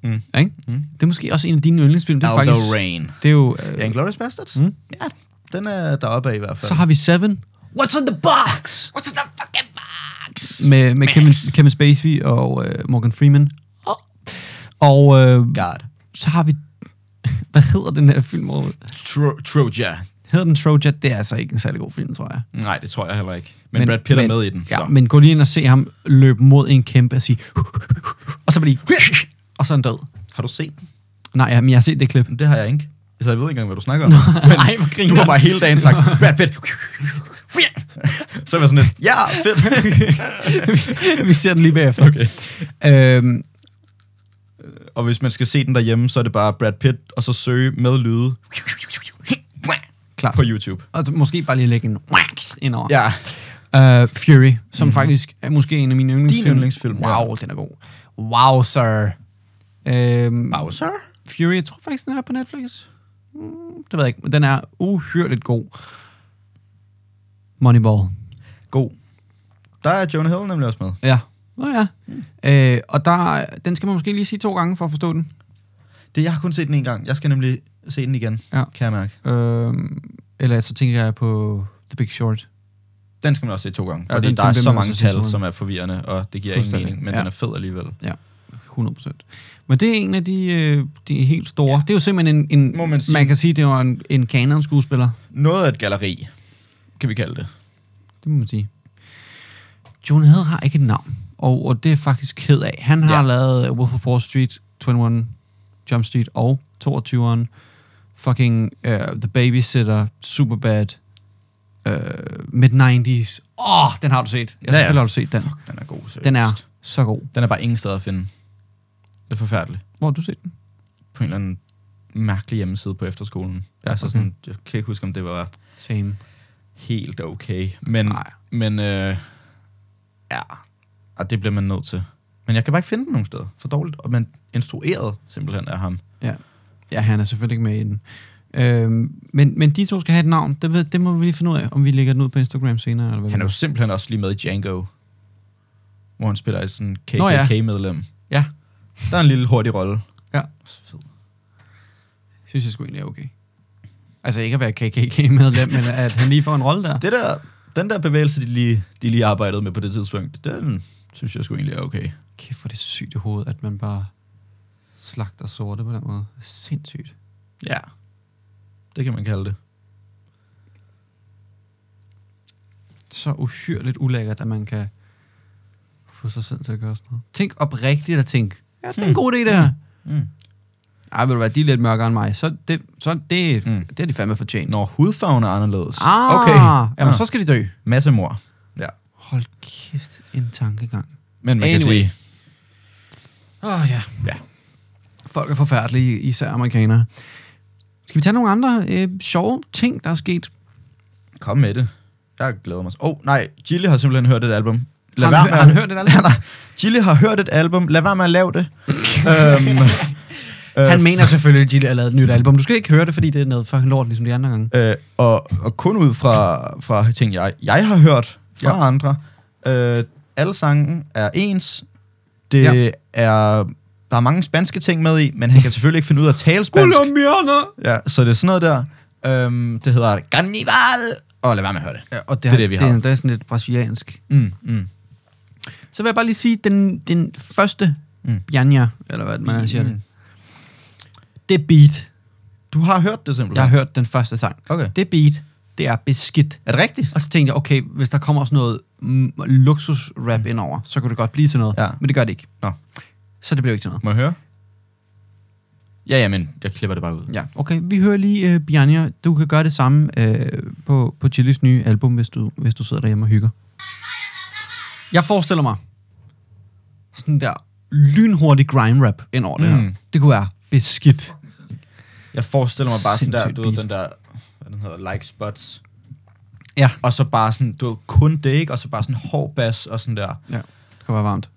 Mm. Ja, Ikke? Mm. Det er måske også en af dine yndlingsfilm. Det er Aldo faktisk, Rain. Det er jo... Ja, Uh, Inglourious Bastards? Mm. Ja, den er deroppe af i hvert fald. så har vi Seven. What's in the box? What's in the fucking box? med, med Max. Kevin, Kevin Spacey og øh, Morgan Freeman. Og øh, God. så har vi... Hvad hedder den her film? Morten? Tro- Troja. Hedder den Troja? Det er altså ikke en særlig god film, tror jeg. Nej, det tror jeg heller ikke. Men, men Brad Pitt men, er med i den, Ja, så. men gå lige ind og se ham løbe mod en kæmpe og sige... Og så blive... Og så er han død. Har du set den? Nej, ja, men jeg har set det klip. Det har jeg ikke. Altså, jeg ved ikke engang, hvad du snakker om. Men Ej, hvor griner du har bare hele dagen sagt, Brad Pitt. så er jeg sådan lidt, ja, fedt. vi ser den lige bagefter. Okay. Øhm, Og hvis man skal se den derhjemme, så er det bare Brad Pitt, og så søge med lyde klart. på YouTube. Og så måske bare lige lægge en wax indover. Ja. Uh, Fury, som mm-hmm. faktisk er måske en af mine yndlingsfilm. Mhm. yndlingsfilm, ja. Wow, den er god. Wow, sir. Øhm, Bowser? Fury, jeg tror faktisk, den er på Netflix. Mm, det ved jeg ikke, men den er uhyrligt god. Moneyball. God. Der er Jonah Hill nemlig også med. Ja. Nå ja. Mm. Øh, og der, den skal man måske lige sige to gange for at forstå den. Det, jeg har kun set den en gang. Jeg skal nemlig se den igen, Ja. kan jeg mærke. Øhm, eller så tænker jeg på The Big Short. Den skal man også se to gange, Ja, fordi ja, den, den- der den er vil så man mange også se to tal, gange. som er forvirrende, og det giver ingen Fuldstændig, mening, men ja. ja. den er fed alligevel. 100%. Men det er en af de, øh, de helt store. Ja. Det er jo simpelthen en, en Må man sige. man kan sige, det var en, en kanon skuespiller. Noget af et galeri, kan vi kalde det. Det må man sige. Jonah Hill har ikke et navn, og, og det er jeg faktisk ked af. Han har Ja. ja. lavet Wolf of Wall Street, 21 Jump Street og 22'eren. Fucking uh, The Babysitter, Superbad, uh, Mid-90s. Åh, oh, den har du set. Ja, ja. Ja, selvfølgelig har du set den. Fuck, den er god, seriøst. Den er så god. den er bare ingen steder at finde. Det er forfærdeligt. Hvor har du set den? På en eller anden mærkelig hjemmeside på efterskolen. Ja, Ja, altså okay. sådan, jeg kan ikke huske, om det var Same. helt okay. Men, Nej. men øh, ja, og det bliver man nødt til. Men jeg kan bare ikke finde den nogen steder. For dårligt. Og man, instrueret simpelthen af ham. Ja. ja, han er selvfølgelig ikke med i den. Øhm, men, men de to skal have et navn. Det, ved, det må vi lige finde ud af, om vi lægger den ud på Instagram senere. Eller hvad Han er jo simpelthen også lige med i Django, hvor han spiller sådan Nå ja. KKK-medlem. Ja, Der er en lille hurtig rolle. Ja. Fed. synes jeg sgu egentlig er okay. Altså ikke at være KKK-medlem, men at han lige får en rolle der. Det der, den der bevægelse, de lige, de lige arbejdede med på det tidspunkt, den synes jeg sgu egentlig er okay. Kæft, hvor er det sygt i hovedet, at man bare slagter sorte på den måde. Sindssygt. Ja. Det kan man kalde det. Så uhyrligt ulækkert, at man kan få sig selv til at gøre sådan noget. Tænk oprigtigt at tænke, ja, det er en god idé, det her. Mm. Hmm. Ej, vil du være, de er lidt mørkere end mig. Så det, så det, Mm. mm. det er de fandme fortjent. Når hudfarven er anderledes. Ah, Okay. Ja. Jamen, så skal de dø. Masse mor. Ja. Hold kæft, en tankegang. Men man kan Anyway. sige, Åh, oh, ja. Ja. Folk er forfærdelige, især amerikanere. Skal vi tage nogle andre øh, sjove ting, der er sket? kom med det. Jeg glæder mig. så- Åh, oh, nej. Gilly har simpelthen hørt et album. Har han hø- at- har han hørt et album? Nej, nej. Gilly har hørt et album. Lad være med at lave det. øhm, øh, Han mener selvfølgelig, at Gilly har lavet et nyt album. Du skal ikke høre det, fordi det er noget fucking lort, ligesom de andre gange. Øh, og, og kun ud fra, fra ting, jeg, jeg har hørt fra ja. Ja. andre. Øh, alle sangen er ens. Det ja. Ja. er... Der er mange spanske ting med i, men han kan selvfølgelig ikke finde ud af at tale spansk. Colombianer! Ja, så det er sådan noget der. Øhm, det hedder Carnival. Og lad være med at høre det. Ja, og det, er det, er, det, det, vi det, har. er, det er sådan lidt brasiliansk. Mm, mm. Så vil jeg bare lige sige, den, den første Mm. mm. Janja, eller hvad man siger det, det beat. Du har hørt det simpelthen? Jeg har hørt den første sang. Okay. Det beat, det er beskidt. Er det rigtigt? Og så tænkte jeg, okay, hvis der kommer sådan noget mm, luksus-rap mm. indover, så kunne det godt blive til noget. Ja. Men det gør det ikke. Nå. Så det blev ikke til noget. Må jeg høre? Ja, ja, men jeg klipper det bare ud. Ja, okay. Vi hører lige, uh, Bjarnia, du kan gøre det samme uh, på, på Chilis nye album, hvis du, hvis du sidder derhjemme og hygger. Jeg forestiller mig sådan der lynhurtig grime-rap ind over det Mm. her. Det kunne være beskidt. Jeg forestiller mig bare sådan der, Sindssygt du ved, beat. den der, hvad den hedder, like spots. Ja. Og så bare sådan, du ved, kun det, ikke? Og så bare sådan hård bas og sådan der. Ja, det kan være varmt.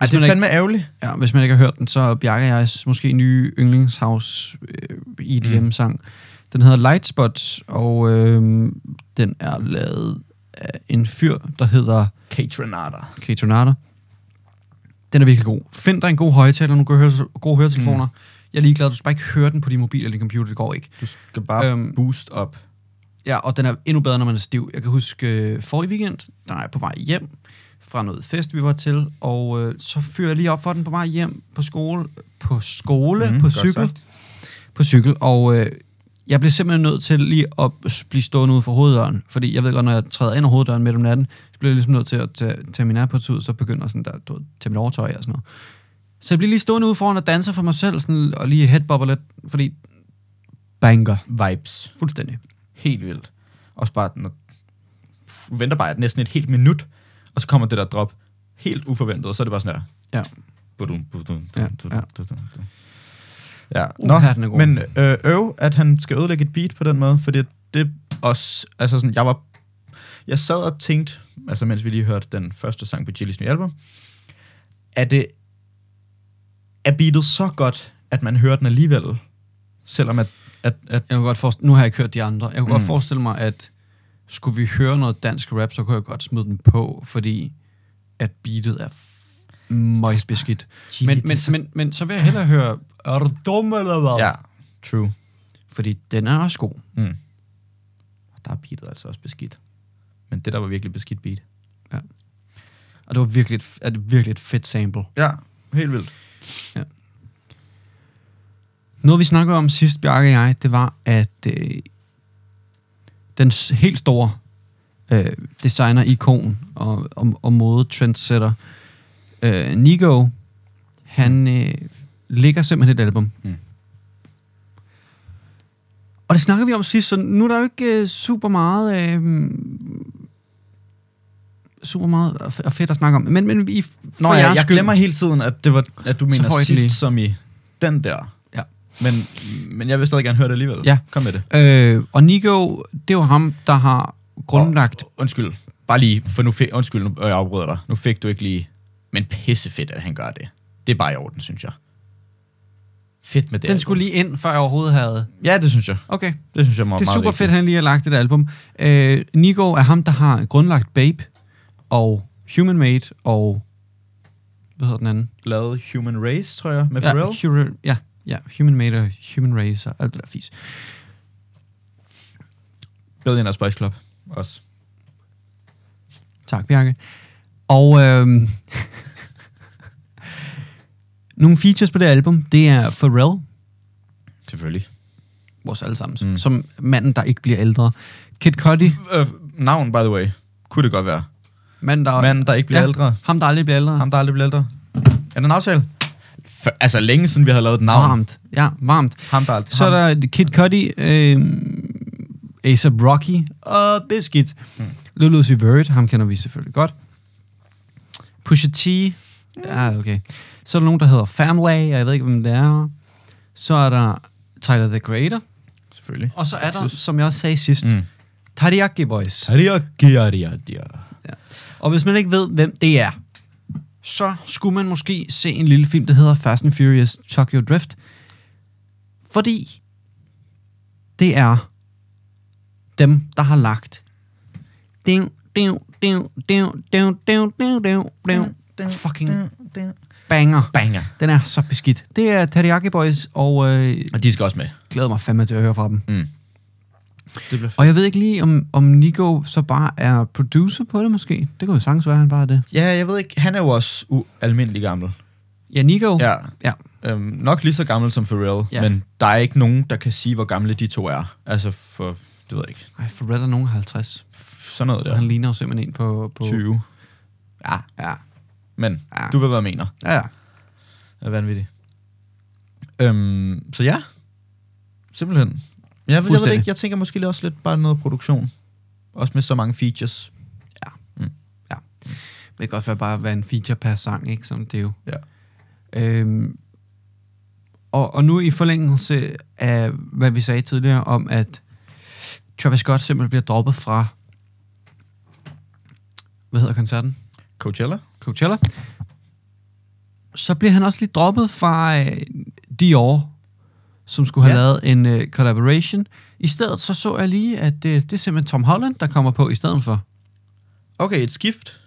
Ej, man det er ikke- fandme ærgerligt. Ja, hvis man ikke har hørt den, så er Bjarke og jegs måske nye yndlingshouse øh, EDM-sang. Den hedder Lightspots, og øh, den er lavet af en fyr, der hedder Catronata. Ketonata. Den er virkelig god. Find dig en god højtaler, nogle gode, høres- gode høretelefoner. Mm. Jeg er ligeglad, du skal bare ikke høre den på din mobil eller din computer, det går ikke. Du skal bare øhm, Øhm. boost op. Ja, og den er endnu bedre, når man er stiv. Jeg kan huske øh, forrige weekend, der er jeg på vej hjem fra noget fest, vi var til, og øh, så fyrer jeg lige op for den på vej hjem på skole, på skole, Mhm, mm, på godt cykel, sagt. på cykel, og øh, jeg blev simpelthen nødt til lige at s- blive stående ude for hoveddøren, fordi jeg ved godt, når jeg træder ind over hoveddøren midt om natten, så bliver jeg ligesom nødt til at tage, tage min AirPods ud, så begynder sådan der, du ved, tage mit overtøj og sådan noget. Så jeg bliver lige stående ude foran og danser for mig selv, sådan, og lige headbobber lidt, fordi banger, Vibes. fuldstændig. Helt vildt. Og så bare, når, pff, venter bare næsten et helt minut, og så kommer det der drop helt uforventet, og så er det bare sådan der. Ja. Budum, budum, Ja, budum, budum, ja. budum, budum. Ja, Uh, nå, her er den er god. men øh, øv, at han skal ødelægge et beat på den måde, fordi det også, altså sådan, jeg var, jeg sad og tænkte, altså mens vi lige hørte den første sang på Chili's nye album, er det, er beatet så godt, at man hører den alligevel, selvom at, at, at Jeg kunne godt forestille, nu har jeg ikke hørt de andre. Jeg kunne mm. Mm. godt forestille mig, at skulle vi høre noget dansk rap, så kunne jeg godt smide den på, fordi at beatet er f- møjs beskidt. Gilly, Men, det er men, så- men, men så vil jeg hellere høre, er du dum eller hvad? ja, true. Fordi den er også god. Mm. Og der er beatet altså også beskidt. Men det der var virkelig beskidt beat. Og det var virkelig et, er det virkelig et fedt sample. Ja, helt vildt. Noget vi snakkede om sidst, Bjarke og jeg, det var, at øh, den s- helt store øh, designer-ikon og, og, og mode-trendsetter, øh, Nigo, han øh, ligger simpelthen et album. Mm. Mm. Og det snakkede vi om sidst, så nu er der jo ikke øh, super meget... Øh, super meget f- og fedt at snakke om. Men, men i, for Nå ja, jeres jeg skyld- glemmer hele tiden, at, det var, at du mener får I den sidst lige. som i den der. Ja. Men, men jeg vil stadig gerne høre det alligevel. Ja. Kom med det. Øh, og Nigo, det var ham, der har grundlagt... Og, undskyld. Bare lige, for nu fik, undskyld, nu, øh, jeg afbryder dig. Nu fik du ikke lige, men pissefedt, at han gør det. Det er bare i orden, synes jeg. fedt med det Den skulle lige ind, før jeg overhovedet havde... album. Ja, det synes jeg. Okay. Det synes jeg meget, Det er meget super fedt, vigtigt. han lige har lagt et album. Øh, Nico er ham, der har grundlagt Babe og Human Made og... Hvad hedder den anden? Lavet Human Race, tror jeg, med ja, Pharrell. Hura- ja, ja, Human Made og Human Race og alt det der fis. Billionaire Spice Club også. Tak, Bjarke. Og øhm, nogle features på det album, det er Pharrell, Selvfølgelig. vores allesammens, Mm. mm. som manden, der ikke bliver ældre. Kid Cudi, Øh, navn, by the way, kunne det godt være. manden, der, Manden, der ikke bliver Ja. ældre. ham, der aldrig bliver ældre. Ham, der aldrig bliver ældre. Er der en aftale? For, altså, længe siden vi har lavet et navn. varmt. Ja, varmt. Ham, der aldrig... Så er der Kid Cudi, øh, A$AP Rocky og Biscuit. Mm. Lil Uzi Vert, ham kender vi selvfølgelig godt. Pusha T. Ja, okay. Så er der nogen, der hedder Family, og jeg ved ikke, hvem det er. Så er der Tyler, The Creator. Selvfølgelig. Og så er der, som jeg også sagde sidst, mm. Mm. Tariaki Boys. Tadia, gia, dia, dia. Og hvis man ikke ved, hvem det er, så skulle man måske se en lille film, der hedder Fast and Furious Tokyo Drift. Fordi det er dem, der har lagt ding, ding, ding, ding, ding, ding, ding, ding, ding, fucking banger. Banger. Den er så beskidt. Det er Teriyaki Boys, og øh, Og de skal også med. glæder mig fandme til at høre fra dem. Mm. Det bliver Og jeg ved ikke lige, om, om Nico så bare er producer på det måske. Det kunne jo sagtens være, at han bare er det. Ja, jeg ved ikke. Han er jo også ualmindelig gammel. Ja, Nico. Ja. ja. Øhm, nok lige så gammel som Pharrell, Ja. men der er ikke nogen, der kan sige, hvor gamle de to er. Altså, for... Det ved jeg ikke. Ej, Pharrell er nogen 50. F- Sådan noget Ja. Han der. ligner jo simpelthen en på... på 20. Ja, ja. Men Ja. du ved, hvad jeg mener. Ja, ja. Det er vanvittigt. Øhm, så ja. Simpelthen. Jeg, jeg, ved det Fuldstændig. ikke. jeg tænker måske lige også lidt bare noget produktion. Også med så mange features. Det kan godt være bare at være en feature per sang, ikke? Som det er jo. Ja. Øhm, og, og nu i forlængelse af, hvad vi sagde tidligere om, at Travis Scott simpelthen bliver droppet fra... Hvad hedder koncerten? Coachella? Coachella. Så bliver han også lige droppet fra øh, Dior, som skulle have Ja. ja. lavet en øh, collaboration. I stedet så så jeg lige, at øh, det er simpelthen Tom Holland, der kommer på i stedet for. Okay, et skift.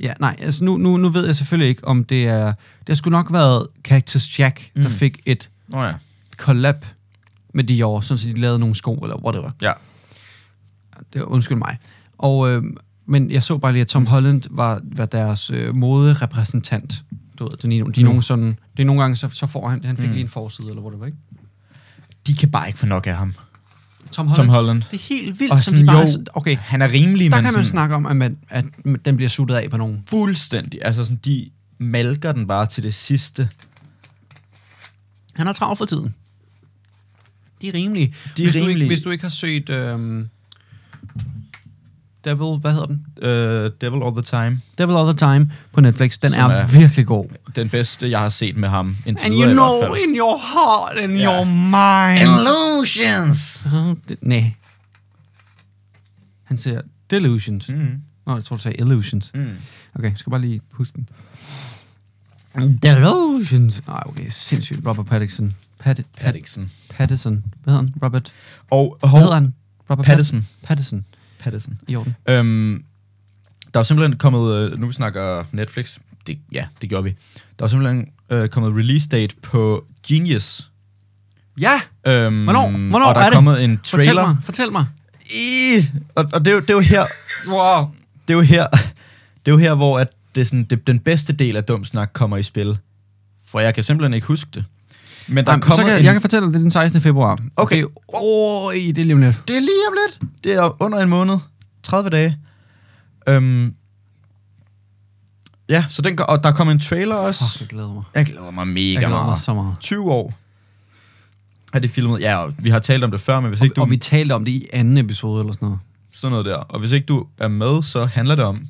Ja, nej, altså nu, nu, nu ved jeg selvfølgelig ikke, om det er... Det har sgu nok været Cactus Jack, mm. der Mm. fik et Nå oh, ja. collab med Dior, sådan så de lavede nogle sko, eller whatever. Ja. Det var, undskyld mig. Og, øh, men jeg så bare lige, at Mm. Tom Holland var, var deres øh, moderepræsentant. Du ved, det er, de, de Mm. nogle sådan, det er nogle gange, så, så får han, han fik Mm. mm. lige en forside, eller whatever, ikke? De kan bare ikke få nok af ham. Tom Tom Holland. Holland. Det er helt vildt, Og som sådan, de bare... jo, så- Okay, Han er rimelig, der men kan man sådan snakke om, at, man, at den bliver suttet af på nogen. fuldstændig. Altså sådan, de malker den bare til det sidste. Han har travlt for tiden. De er rimelige. De er hvis, Du ikke, rimelige. hvis du ikke har set... Øh, Devil, hvad hedder den? Uh, Devil All The Time. Devil All The Time på Netflix. Den Som er, er- er virkelig god. Den bedste, jeg har set med ham indtil And you videre i know hvert fald. in your heart and Ja. your mind. Illusions! Nej. Han siger delusions. Mm. Mm, Nå, jeg tror, du sagde illusions. mm. Okay, jeg skal bare lige huske den. Delusions. Nej, okay, sindssygt. Robert Pattinson. Pat, Pat, Paddington. Pattinson. Hvad hedder han? Robert? Og Hvad hedder hov, han? Robert Pattinson. Pattinson. Paddington. I orden. Øhm, der er jo simpelthen kommet, øh, nu vi snakker Netflix, det, ja, det gjorde vi. Der er jo simpelthen øh, kommet release date på Genius. Ja, Øhm, Hvornår? Hvornår og der er er, det? kommet en fortæl trailer. mig. Fortæl mig. I, og, og det, er jo, det er jo her, Wow. det er jo her, det er jo her hvor at det er sådan, det, den bedste del af dum snak kommer i spil. For jeg kan simpelthen ikke huske det. Men der Der er Jamen, så kommet kan, en, en... Jeg kan fortælle dig, det er den 16. februar. Okay. Det, oh, det er lige om lidt. Det er lige om lidt. Det er under en måned. 30 dage. Øhm, ja, så den, går- og der kom en trailer også. Fuck, jeg glæder mig. Jeg glæder mig mega Jeg glæder mig meget. så meget. 20 år er det filmet. Ja, og vi har talt om det før, men hvis ikke Og, du... og vi talte om det i anden episode eller sådan noget. Sådan noget der. Og hvis ikke du er med, så handler det om,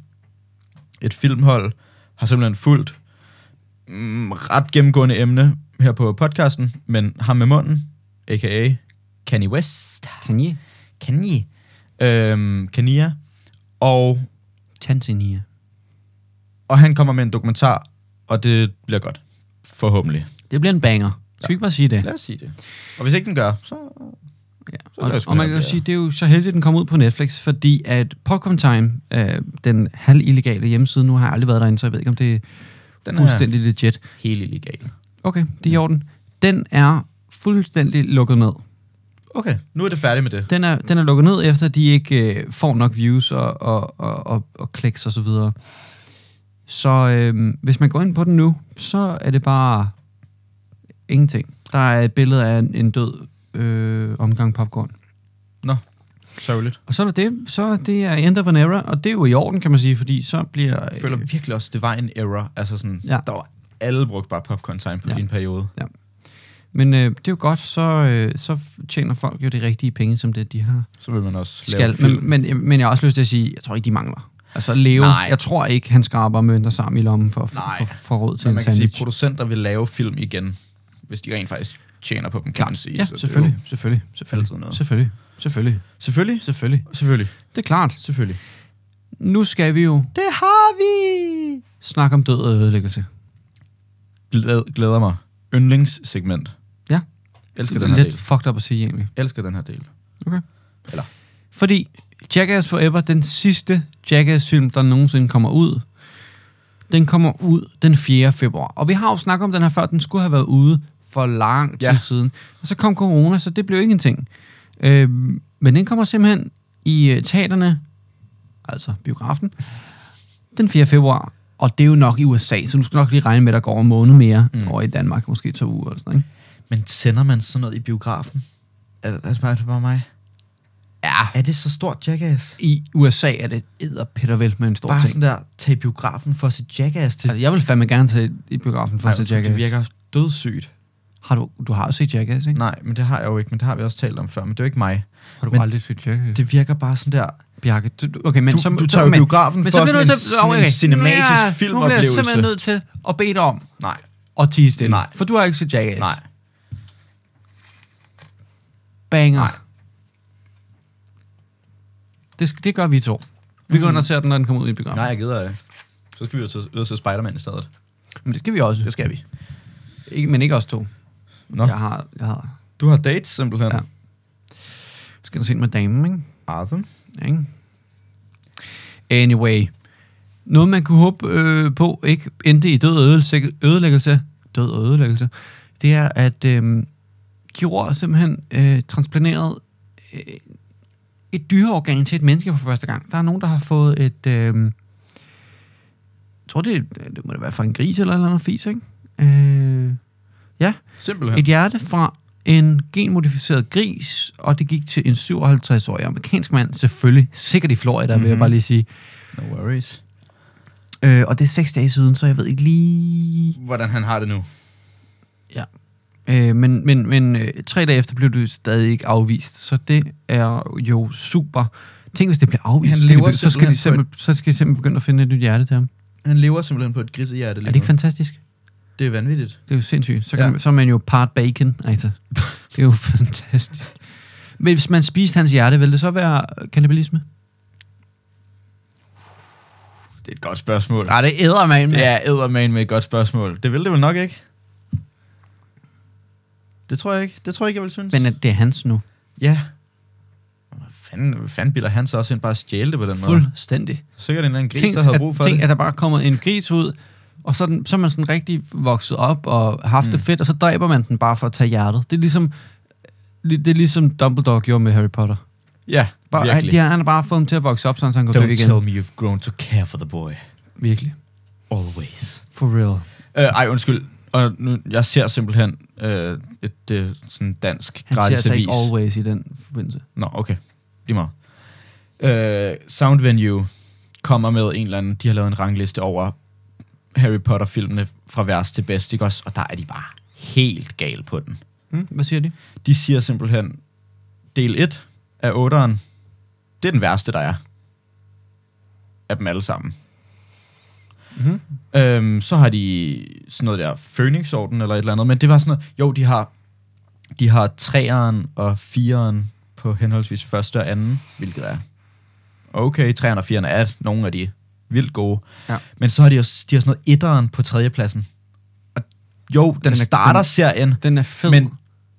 et filmhold har simpelthen fulgt mm, ret gennemgående emne her på podcasten, men ham med munden, a.k.a. Kanye West. Kanye? Kanye. Øhm, Kanye. Og, Tanzania. og han kommer med en dokumentar, og det bliver godt. Forhåbentlig. Det bliver en banger. Skal vi ikke bare sige det? Lad os sige det. Og hvis ikke den gør, så... Ja. Så Og, lad os gå og man ned kan og jo blære. sige, det er jo så heldigt, at den kom ud på Netflix, fordi at Popcorn Time, øh, den halvillegale hjemmeside, nu har jeg aldrig været derinde, så jeg ved ikke, om det er Den den er- fuldstændig legit. Helt illegal. Okay, det er i orden. Den er fuldstændig lukket ned. Okay, nu er det færdigt med det. Den er, den er lukket ned, efter de ikke øh, får nok views og, og, og, og, og kliks og så videre. Så øh, hvis man går ind på den nu, så er det bare ingenting. Der er et billede af en, en død øh, omgang popcorn. Sørgeligt. Og så er det det. Så det er End of an Era, og det er jo i orden, kan man sige, fordi så bliver... Jeg føler virkelig også, det var en error. Altså sådan, ja. Øh. Ja. der var alle brugte bare popcorn time på ja. Ja. din periode. Men øh, det er jo godt, så, øh, så tjener folk jo de rigtige penge, som det de har Så vil man også lave skal. film. Men, men, men jeg har også lyst til at sige, jeg tror ikke, de mangler. Altså Leo, Nej. Nej. jeg tror ikke, han skraber mønter sammen i lommen for at Nej. få- få- få råd til Så en man kan sige, sandwich. at producenter vil lave film igen, hvis de rent faktisk tjener på dem, kan man sige. ja, Så det er selvfølgelig, jo selvfølgelig, selvfølgelig, Altid noget. selvfølgelig, selvfølgelig, Selvfølgelig. selvfølgelig. Selvfølgelig. Det er klart. Selvfølgelig. Nu skal vi jo Det har vi! snakke om død og ødelæggelse. Glæd, glæder mig. Yndlingssegment. Ja. Elsker den her Lidt del. fucked up at sige egentlig. Elsker den her del. Okay. Eller- Fordi Jackass Forever, den sidste Jackass-film, der nogensinde kommer ud, den kommer ud den 4. februar. Og vi har jo snakket om den her før, den skulle have været ude for lang tid Ja. ja. siden. Og så kom corona, så det blev ingenting. Øh, men den kommer simpelthen i øh, teaterne, altså biografen, den 4. februar. Og det er jo nok i USA, så du skal nok lige regne med, at der går en måned mere Mm. mm. over i Danmark, måske to uger eller sådan ikke? Men sender man sådan noget i biografen? Er, er det bare- er det bare mig? Ja. Er det så stort jackass? I USA er det edderpittervel med en stor ting. der, tage i biografen for at se jackass til. Altså, jeg vil fandme gerne tage i biografen for at se Jackass. Det virker dødssygt. Har du, du har jo set Jackass, ikke? Nej, men det har jeg jo ikke, men det har vi også talt om før, men det er jo ikke mig. Har du men- aldrig set Jackass? Det, Det virker bare sådan der, Bjarke, du, du- okay, men Du, så... du så- tager jo men- biografen men for så bliver sådan du en, nødt til- sådan en okay. cinematisk Ja, Nu bliver jeg filmoplevelse. simpelthen nødt til at bede dig om Nej, at tige stille. Nej. For du har ikke set Jackass. nej. Banger. Nej. Nej. Det, sk- det gør vi to. Vi går ind og ser den, når den kommer ud i biografen. Mm. Nej, jeg gider ikke. Så skal vi jo til, ud og se Spider-Man i stedet. Men det skal vi også. Det skal vi. Ikke, men ikke os to. Nå, Jeg har... Jeg har du har dates simpelthen. Ja. Ja. skal da se den med damen, ikke? Arthur? Ikke? Anyway. Noget, man kunne håbe øh, på, ikke endte i død og ødelæggelse, ødelæggelse, død og ødelæggelse det er, at øh, kirurger simpelthen øh, transplanteret øh, et dyreorgan til et menneske for første gang. Der er nogen, der har fået et... Øh, jeg tror, det, er- det må det være fra en gris eller et eller andet fis, ikke? Øh, ja, Simpelthen. et hjerte fra en genmodificeret gris, og det gik til en 57-årig amerikansk mand, selvfølgelig sikkert i Florida, mm-hmm. vil jeg Mhm. bare lige sige. No worries. Øh, og det er seks dage siden, så jeg ved ikke lige... Hvordan han har det nu. Øh, men men, men øh, tre dage efter blev det stadig ikke afvist, så det er jo super. Tænk, hvis det bliver afvist, Han så skal de lever be- så, skal simpelthen de simpelthen, så skal de simpelthen begynde at finde et nyt hjerte til ham. Han lever simpelthen på et grisehjerte Er lige det ikke fantastisk? nu. Det er vanvittigt. Det er jo sindssygt. Så, kan Ja. ja. man, så er man jo part bacon, altså. Det er jo fantastisk. Men hvis man spiste hans hjerte, ville det så være kannibalisme? Det er et godt spørgsmål. Nej, det æder man. Det er eddermane med et godt spørgsmål. Det vil det vel nok ikke? Det tror jeg ikke. Det tror jeg ikke, jeg vil synes. Men øh, at det er hans nu. ja. Hvad fanden, hvad fanden bilder han så også ind bare at stjæle det på den måde? Fuldstændig. Sikkert en eller anden gris, Tænk, der havde at, brug for tænk det. at der bare kommer en gris ud, og så, er den, så er man sådan rigtig vokset op og haft mm. det fedt, og så dræber man den bare for at tage hjertet. Det er ligesom, det er ligesom Dumbledore gjorde med Harry Potter. Ja, Bare, han, de, har- han har bare fået dem til at vokse op, sådan, så han kan dø Don't igen. tell me you've grown to care for the boy. Virkelig. Always. For real. Øh, ej, undskyld. Og nu, jeg ser simpelthen øh, et øh, sådan dansk Han ser gratis altså avis. ikke always i den forbindelse. Nå, okay. Lige meget. Øh, Sound Venue kommer med en eller anden, de har lavet en rangliste over Harry Potter-filmene fra værst til bedst, ikke også? Og der er de bare helt gal på den. Hmm? Hvad siger de? De siger simpelthen, del 1 af 8'eren, det er den værste, der er. Af dem alle sammen. Mm-hmm. Øhm, så har de sådan noget der Fønixorden eller et eller andet, men det var sådan noget, jo, de har, de har træeren og fireren på henholdsvis første og anden, hvilket er okay, træeren og fireren er nogle af de vildt gode. Ja. Men så har de også de har sådan noget etteren på tredjepladsen. Og Jo, den, er- den starter den- den, serien, Den er fed. men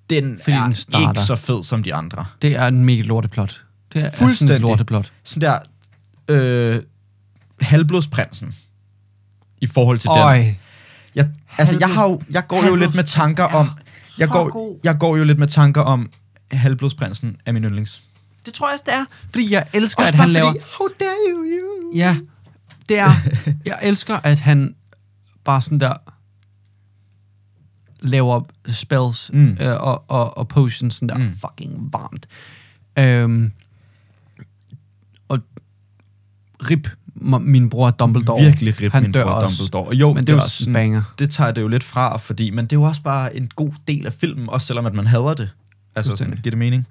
den Fordi er den starter. ikke så fed som de andre. Det er en mega lorteplot. Det er sådan Fuldstændig. en lorteplot. Sådan der øh, halvblodsprinsen i forhold til den. Øj. Jeg, altså, jeg, Halvblod- har Altså, jo, jeg går jo lidt med tanker Halvblodsprinsen om... er Jeg så går, god. jeg går jo lidt med tanker om halvblodsprinsen er min yndlings. Det tror jeg også, det er. Fordi jeg elsker, at han laver... How dare you, you? Ja, det er... Jeg elsker, at han bare sådan der laver spells mm. Mm. øh, og, og, og potions sådan der mm. Mm. fucking varmt. Øhm, og rip m- min bror Dumbledore. Virkelig rip Han min dør bror også. Dumbledore. Jo, Men det er jo også en sådan- banger. Det tager det jo lidt fra, fordi, men det er jo også bare en god del af filmen, også selvom at man hader det. Altså, sådan, Fuldstændig. giver det mening?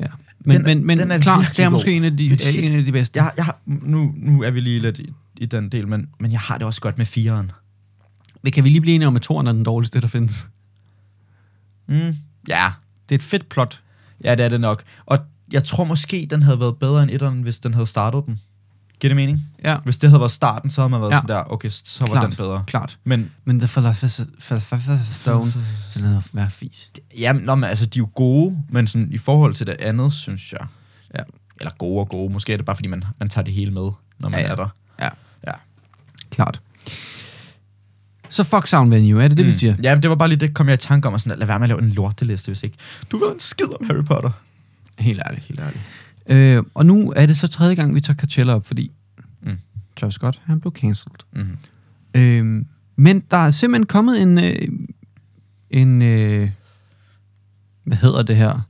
Ja. Men, Den er- men, men den er klart, det er virkelig måske god. en af de, Men shit. en af de bedste. Jeg, jeg, har- nu, nu er vi lige lidt i, i den del, men, men jeg har det også godt med fireren. Men kan vi lige blive enige om, at toren er den dårligste, der findes? Mm. Ja, Det er et fedt plot. Ja, det er det nok. Og jeg tror måske, den havde været bedre end etteren, hvis den havde startet den. Giver det mening? Ja, Hvis det havde været starten, så havde man været Ja. ja. sådan der, okay, så så var Klart. den bedre. klart. Men Men The Philosopher's Stone, den er hver fis. ja, nå, men, altså, de er jo gode, men sådan, i forhold til det andet, synes jeg. Ja. Eller gode og gode. Måske er det bare, fordi man, man tager det hele med, når man Ja, ja, ja. ja. er der. Ja, Ja. klart. Så fuck Sound Venue, er det det, mm. vi siger? Ja, men det var bare lige det, kom jeg i tanke om. Og sådan, at lad være med at lave en lorteliste, hvis ikke. Du ved en skid om Harry Potter. Helt ærligt. Helt ærligt. Øh, og nu er det så tredje gang, vi tager Coachella op, fordi mm. Mm. Travis Scott, han blev cancelled. Mm. Øh, men der er simpelthen kommet en... Øh, en øh, hvad hedder det her?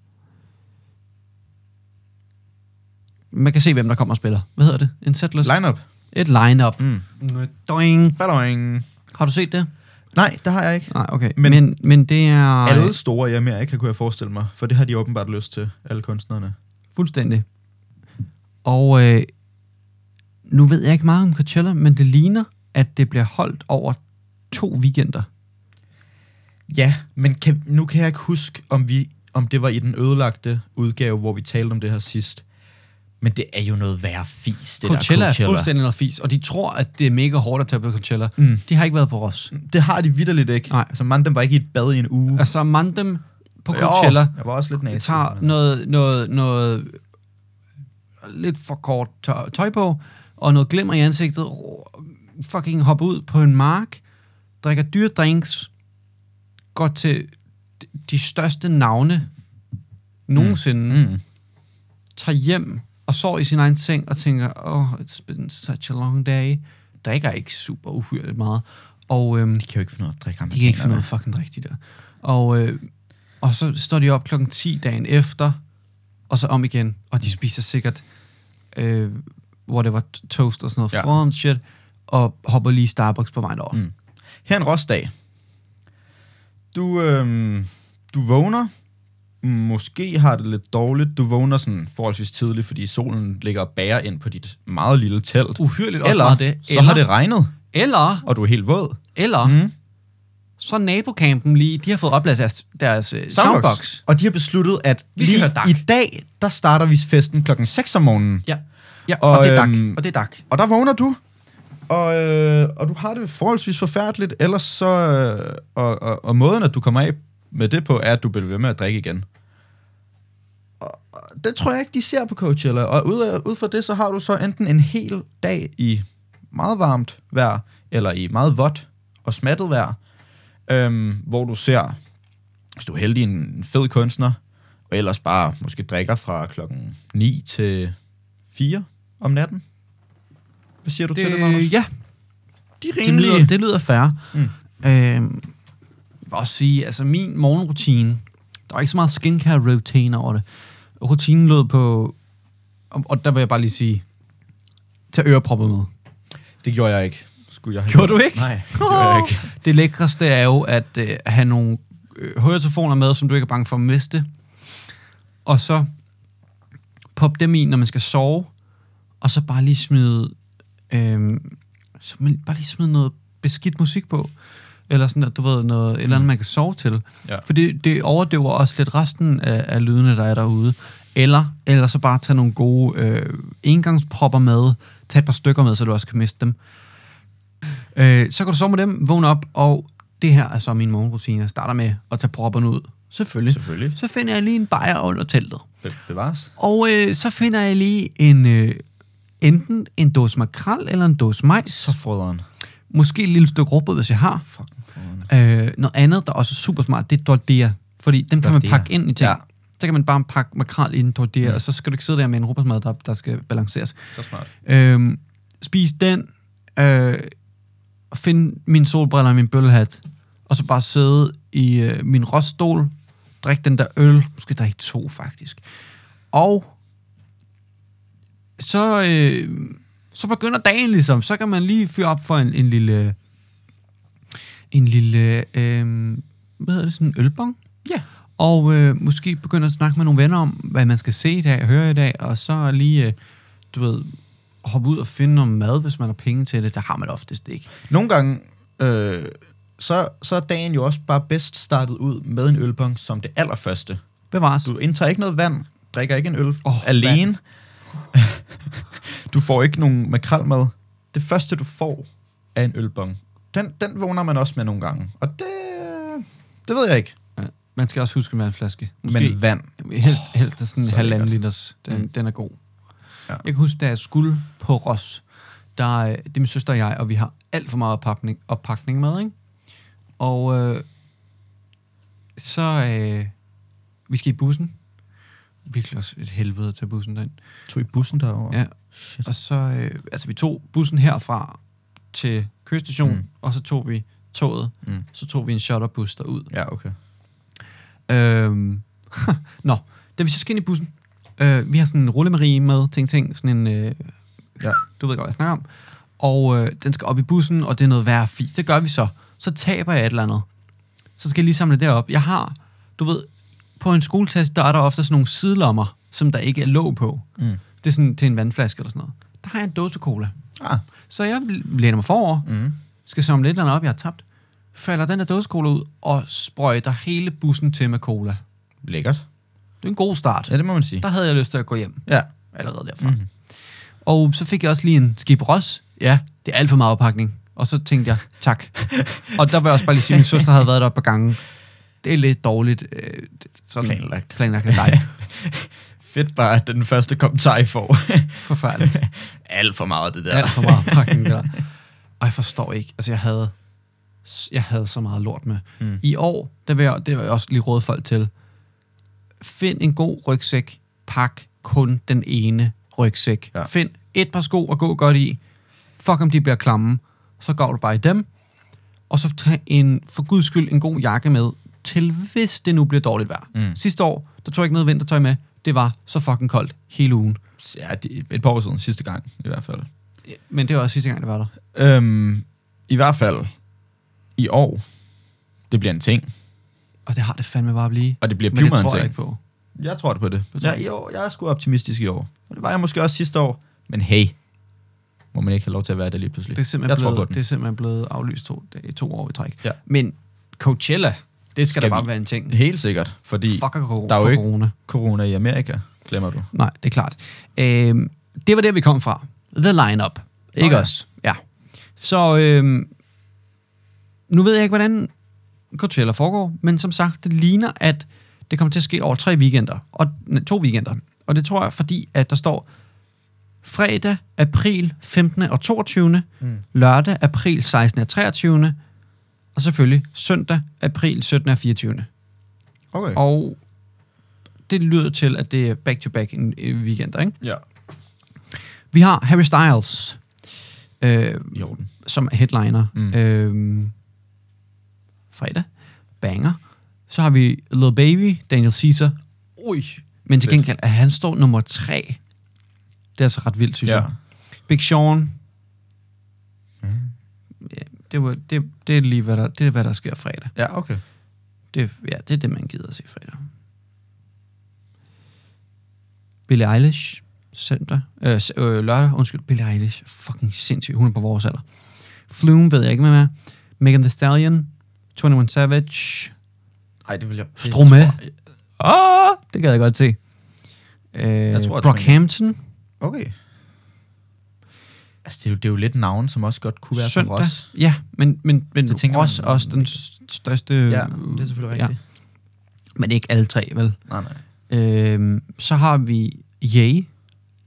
Man kan se, hvem der kommer og spiller. Hvad hedder det? En setlist? Line-up. Et line-up. Mm. Doing. Badoing. Har du set det? Nej, det har jeg ikke. Nej, okay. Men, Men- men, men det er... Alle store i Amerika, kunne jeg forestille mig. For det har de åbenbart lyst til, alle kunstnerne. Fuldstændig. Og øh, nu ved jeg ikke meget om Coachella, men det ligner, at det bliver holdt over to weekender. Ja, men kan, nu kan jeg ikke huske, om, vi, om det var i den ødelagte udgave, hvor vi talte om det her sidst. Men det er jo noget værre fis, det Coachella, der Coachella er Coachella. fuldstændig noget fis, og de tror, at det er mega hårdt at tage på Coachella. Mm. De har ikke været på Ross. Det har de vidderligt ikke. Nej. Altså, man, den var ikke i et bad i en uge. Altså, Mandem på Coachella Jo, jeg var også lidt næstig. tager men- noget, noget, noget lidt for kort tø- tøj på, og noget glimmer i ansigtet, Rå- fucking hopper ud på en mark, drikker dyre drinks, går til d- de største navne nogensinde, mm. Mm. tager hjem og sover i sin egen seng og tænker, oh, it's been such a long day. Drikker ikke super uhyrligt meget. Og øhm, De kan jo ikke finde noget at drikke de kan ikke finde noget fucking rigtigt der. Og, øh, og så står de op klokken 10 dagen efter, og så om igen, og de spiser sikkert, øh, hvor det var toast og sådan noget, ja. Ja. front shit, og hopper lige i Starbucks på vejen over. Mm. Mm. Her er en råsdag. Du, øhm, du vågner. Måske har det lidt dårligt. Du vågner sådan forholdsvis tidligt, fordi solen ligger og bærer ind på dit meget lille telt. Uhyrligt også eller, meget det. så har det regnet, eller, og du er helt våd. eller, mm. så er nabocampen lige, de har fået opladt deres, deres øh, soundbox. soundbox. Og de har besluttet, at Vi skal lige høre Dak. i dag, der starter vi festen klokken 6 om morgenen. Ja. ja og, Og, og, det er dak, øhm, og det er dak. Og der vågner du, og, øh, og du har det forholdsvis forfærdeligt, ellers så... Øh, og, og, og måden, at du kommer af med det på, er, at du bliver ved med at drikke igen. Og, og det tror jeg ikke, de ser på Coachella. Og ud, af, ud fra det, så har du så enten en hel dag i meget varmt vejr, eller i meget vådt og smattet vejr, øhm, hvor du ser, hvis du er heldig, en fed kunstner, og ellers bare måske drikker fra klokken 9 til 4 om natten. Hvad siger du det, til det, Magnus? ja, De er det lyder, rimelige. det lyder fair. Mm. Øhm, jeg vil også sige, altså min morgenrutine, der var ikke så meget skincare routine over det. Rutinen lød på, og, og der vil jeg bare lige sige, tag ørepropper med. Det gjorde jeg ikke. Skulle jeg have Gjorde du ikke? Nej, det gjorde jeg ikke. Det lækreste er jo at øh, have nogle øh, høretelefoner med, som du ikke er bange for at miste. Og så pop dem i, når man skal sove. Og så bare lige smide, øh, så man- bare lige smide noget beskidt musik på. Eller sådan, at du ved, noget, et eller andet, man kan sove til. Ja. For det, det overdøver også lidt resten af, af lydene, der er derude. Eller, eller så bare tage nogle gode øh, engangspropper med. Tag et par stykker med, så du også kan miste dem. Øh, så kan du sove med dem, vågne op og det her er så min morgenrutine. Jeg starter med at tage propperne ud. Selvfølgelig. Selvfølgelig. Så finder jeg lige en bajer under teltet. Be- bevares. Og øh, så finder jeg lige en, øh, enten en dåse makrel eller en dåse majs. Så frøderen. Måske et lille stykke råbrød, hvis jeg har. Fucking frøderen. Øh, noget andet, der også er super smart, det er tortilla. Fordi dem kan man Tortilla. pakke ind i ting. Ja. Mm. Ja. Så kan man bare pakke makrel i en tortilla, og så skal du ikke sidde der med en råbrødsmad, der, der skal balanceres. Så smart. Øh, spis den, øh, og find min solbriller og min bøllehat, og så bare sidde i øh, min råstol, drikke den der øl, måske drikke to faktisk. Og så, øh, så begynder dagen ligesom, så kan man lige fyre op for en, en lille, en lille, øh, hvad hedder det, sådan en ølbong? Ja. Og øh, måske begynde at snakke med nogle venner om, hvad man skal se i dag og høre i dag, og så lige, øh, du ved, hoppe ud og finde noget mad, hvis man har penge til det. Der har man oftest ikke. Nogle gange, øh, så, så er dagen jo også bare bedst startet ud med en ølbong som det allerførste. Bevares. Du indtager ikke noget vand, drikker ikke en øl oh, Åh, alene. du får ikke nogen makrelmad. Det første, du får, er en ølbong. Den, den vågner man også med nogle gange. Og det, det ved jeg ikke. Ja. Man skal også huske med en flaske. Måske. Måske. Men vand. Helst, helst er sådan en så halvanden lækkert. liters. Den, Mm. mm. den er god. Ja. Ja. Jeg kan huske, da jeg skulle på Ros, der, øh, det er min søster og jeg, og vi har alt for meget oppakning, oppakning med, ikke? Og øh, så, øh, vi skal i bussen. Virkelig også et helvede at tage bussen derind. Tog i bussen derovre? Ja. Shit. Og så, øh, altså vi tog bussen herfra til køstationen, Mm. mm. og så tog vi toget, Mm. så tog vi en shutterbus derud. Ja, okay. Øhm, nå, da vi så skal ind i bussen, øh, vi har sådan en rullemarie med, ting, ting, sådan en, øh, Ja. du ved godt, hvad jeg snakker om, og øh, den skal op i bussen, og det er noget værre fint. Det gør vi så. Så taber jeg et eller andet. Så skal jeg lige samle det op. Jeg har, du ved, på en skoletaske, der er der ofte sådan nogle sidelommer, som der ikke er låg på. Mm. Det er sådan til en vandflaske eller sådan noget. Der har jeg en dåse cola. Ah. Så jeg læner mig forover, Mm. skal samle et eller andet op, jeg har tabt, falder den der dåse cola ud og sprøjter hele bussen til med cola. Lækkert. Det er en god start. Ja, det må man sige. Der havde jeg lyst til at gå hjem Ja. allerede derfra. Mm. Mm. Og så fik jeg også lige en skib ros. Ja, det er alt for meget oppakning. Og så tænkte jeg, tak. og der vil jeg også bare lige sige, at min søster havde været der et par gange. Det er lidt dårligt. Øh, sådan Planlagt. Planlagt af dig. Fedt bare, at det er den første kommentar, I får. Forfærdeligt. Alt for meget, det der. Ja. Alt for meget pakning der. Og jeg forstår ikke. Altså, jeg havde, jeg havde så meget lort med. Mm. Mm. I år, der vil jeg, det vil jeg også lige råde folk til. Find en god rygsæk. Pak kun den ene rygsæk. Ja. Ja. Find et par sko at gå godt i. Fuck om de bliver klamme. Så går du bare i dem. Og så tag en, for guds skyld en god jakke med, til hvis det nu bliver dårligt vejr. Mm. Mm. Sidste år, der tog jeg ikke noget vintertøj med. Det var så fucking koldt hele ugen. Ja, det, et par år siden, sidste gang i hvert fald. Men det var også sidste gang, det var der. Øhm, I hvert fald i år, det bliver en ting, Og det har det fandme bare at blive. og det bliver Men det pivmer en tror ting. jeg Jeg, ikke på. jeg tror det på det. Det tror Jeg, jeg i år, jeg er sgu optimistisk i år, og det var jeg måske også sidste år, men hey, må man ikke have lov til at være der lige pludselig. Det er simpelthen, jeg tror på blevet, den. det er simpelthen blevet aflyst to, i to år i træk. Ja. Men Coachella, det skal, skal da vi- bare være en ting. Helt sikkert, fordi Fuck. Fuck corona. der er jo for ikke- corona. corona i Amerika, glemmer du. Nej, det er klart. Øhm, det var der, vi kom fra. The lineup. Ikke ja. os? Ja. Så øhm, nu ved jeg ikke, hvordan Coachella foregår, men som sagt, det ligner, at det kommer til at ske over tre weekender, og nej, to weekender. Og det tror jeg, fordi at der står fredag, april 15. og 22. Mm. Mm. Lørdag, april 16. og 23. Og selvfølgelig søndag, april 17. og 24. Okay. Og, Og det lyder til, at det er back-to-back en en weekend, ikke? ja, Vi har Harry Styles, øh, i orden. som er headliner. Mm. Mm. Øh, fredag. Banger. Så har vi Lil Baby, Daniel Caesar. Ui. Men Fedt. til gengæld, at han står nummer tre. Det er altså ret vildt, synes ja. Ja. Mm. jeg. Big Sean. Mm. Ja, det, var, det, det er lige, hvad der, det er, hvad der sker fredag. ja, okay. Det, ja, det er det, man gider at se fredag. Billie Eilish, søndag. Øh, s- øh, lørdag, undskyld. Billie Eilish, fucking sindssyg. Hun er på vores alder. Flume ved jeg ikke, hvad med. Megan Thee Stallion, 21 Savage. Ej, det vil jeg... Stromae. Åh, det gad jeg godt se. Øh, jeg tror, tror, at Brockhampton. Okay. Altså, det er, jo, det er jo lidt navn, som også godt kunne være Søndag. på Ross. Ja, men, men, men Så tænker Ross man- også den s- største... Ja, det er selvfølgelig rigtigt. Ja. Men ikke alle tre, vel? Nej, nej. Øhm, så har vi Ye.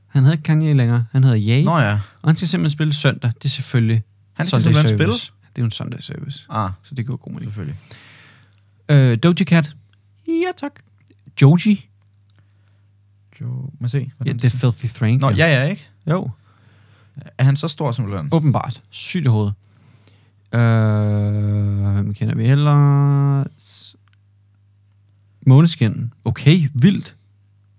Han hedder ikke Kanye længere. Han hedder Ye. Nå ja. Og han skal simpelthen spille søndag. Det er selvfølgelig Han skal Sunday simpelthen service. Mm. Det er jo en Sunday service. Ah, Så det giver god mening. selvfølgelig. Øh, Doja Cat. Ja, tak. Joji. Jo, må se. Ja, hvordan det er Filthy Frank. Nå, jo. ja, ja, ikke? Jo, Er han så stor simpelthen? åbenbart. Sygt i hovedet. Øh, hvem kender vi ellers? Måneskin. Okay, vildt.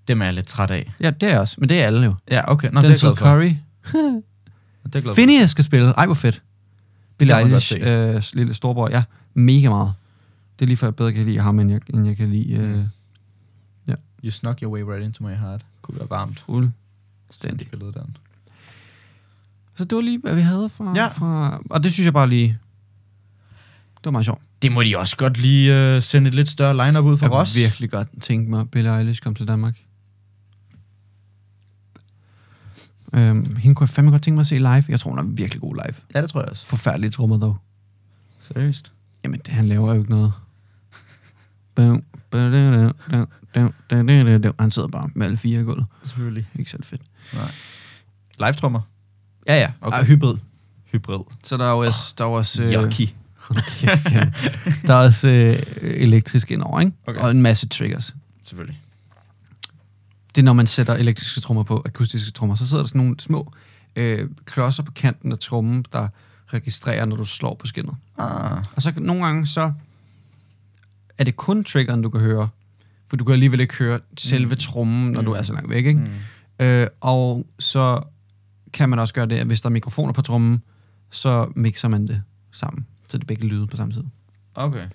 Dem er jeg lidt træt af. Ja, det er jeg også. Men det er alle jo. Ja, okay. Nå, det er Denzel jeg glad for. Curry. Det er jeg glad for. Phineas skal spille. Ej, hvor fedt. Billie Det må jeg godt Eilish, øh, lille storbror. Ja, mega meget. Det er lige før, jeg bedre kan lide ham, end jeg, end jeg kan lide øh, You snuck your way right into my heart. Kunne være varmt. fuldstændig. Billedet der. Så det var lige, hvad vi havde fra, Ja. ja. fra... Og det synes jeg bare lige... Det var meget sjovt. Det må de også godt lige øh, sende et lidt større lineup ud for Jeg kunne Ross. virkelig godt tænke mig, at Billie Eilish kom til Danmark. Øhm, hende kunne jeg fandme godt tænke mig at se live. Jeg tror, hun er virkelig god live. Ja, det tror jeg også. Forfærdelige trommer, dog. Seriøst. Jamen, det, han laver jo ikke noget. Bum, ba-da-da, dum, dum, da-da-da, dum. Han sidder bare med alle fire i gulvet. Selvfølgelig. Ikke selv fedt. Live-trommer. Ja, ja. Okay. Okay. Ej, hybrid. Hybrid. Så der er jo også... Der er jo også øh, Yucky. hold kæft, ja. der er også øh, elektrisk indover, ikke? Okay. Okay. Og en masse triggers. Selvfølgelig. det er, når man sætter elektriske trommer på akustiske trommer, så sidder der sådan nogle små øh, klodser på kanten af trommen, der registrerer, når du slår på skinnet. Ah. Og så kan- nogle gange, så er det kun triggeren, du kan høre, for du kan alligevel ikke høre selve trommen, når du er så langt væk. Ikke? Mm. Øh, og så kan man også gøre det, at hvis der er mikrofoner på trommen, så mixer man det sammen, så det er begge lyde på samme tid. Okay.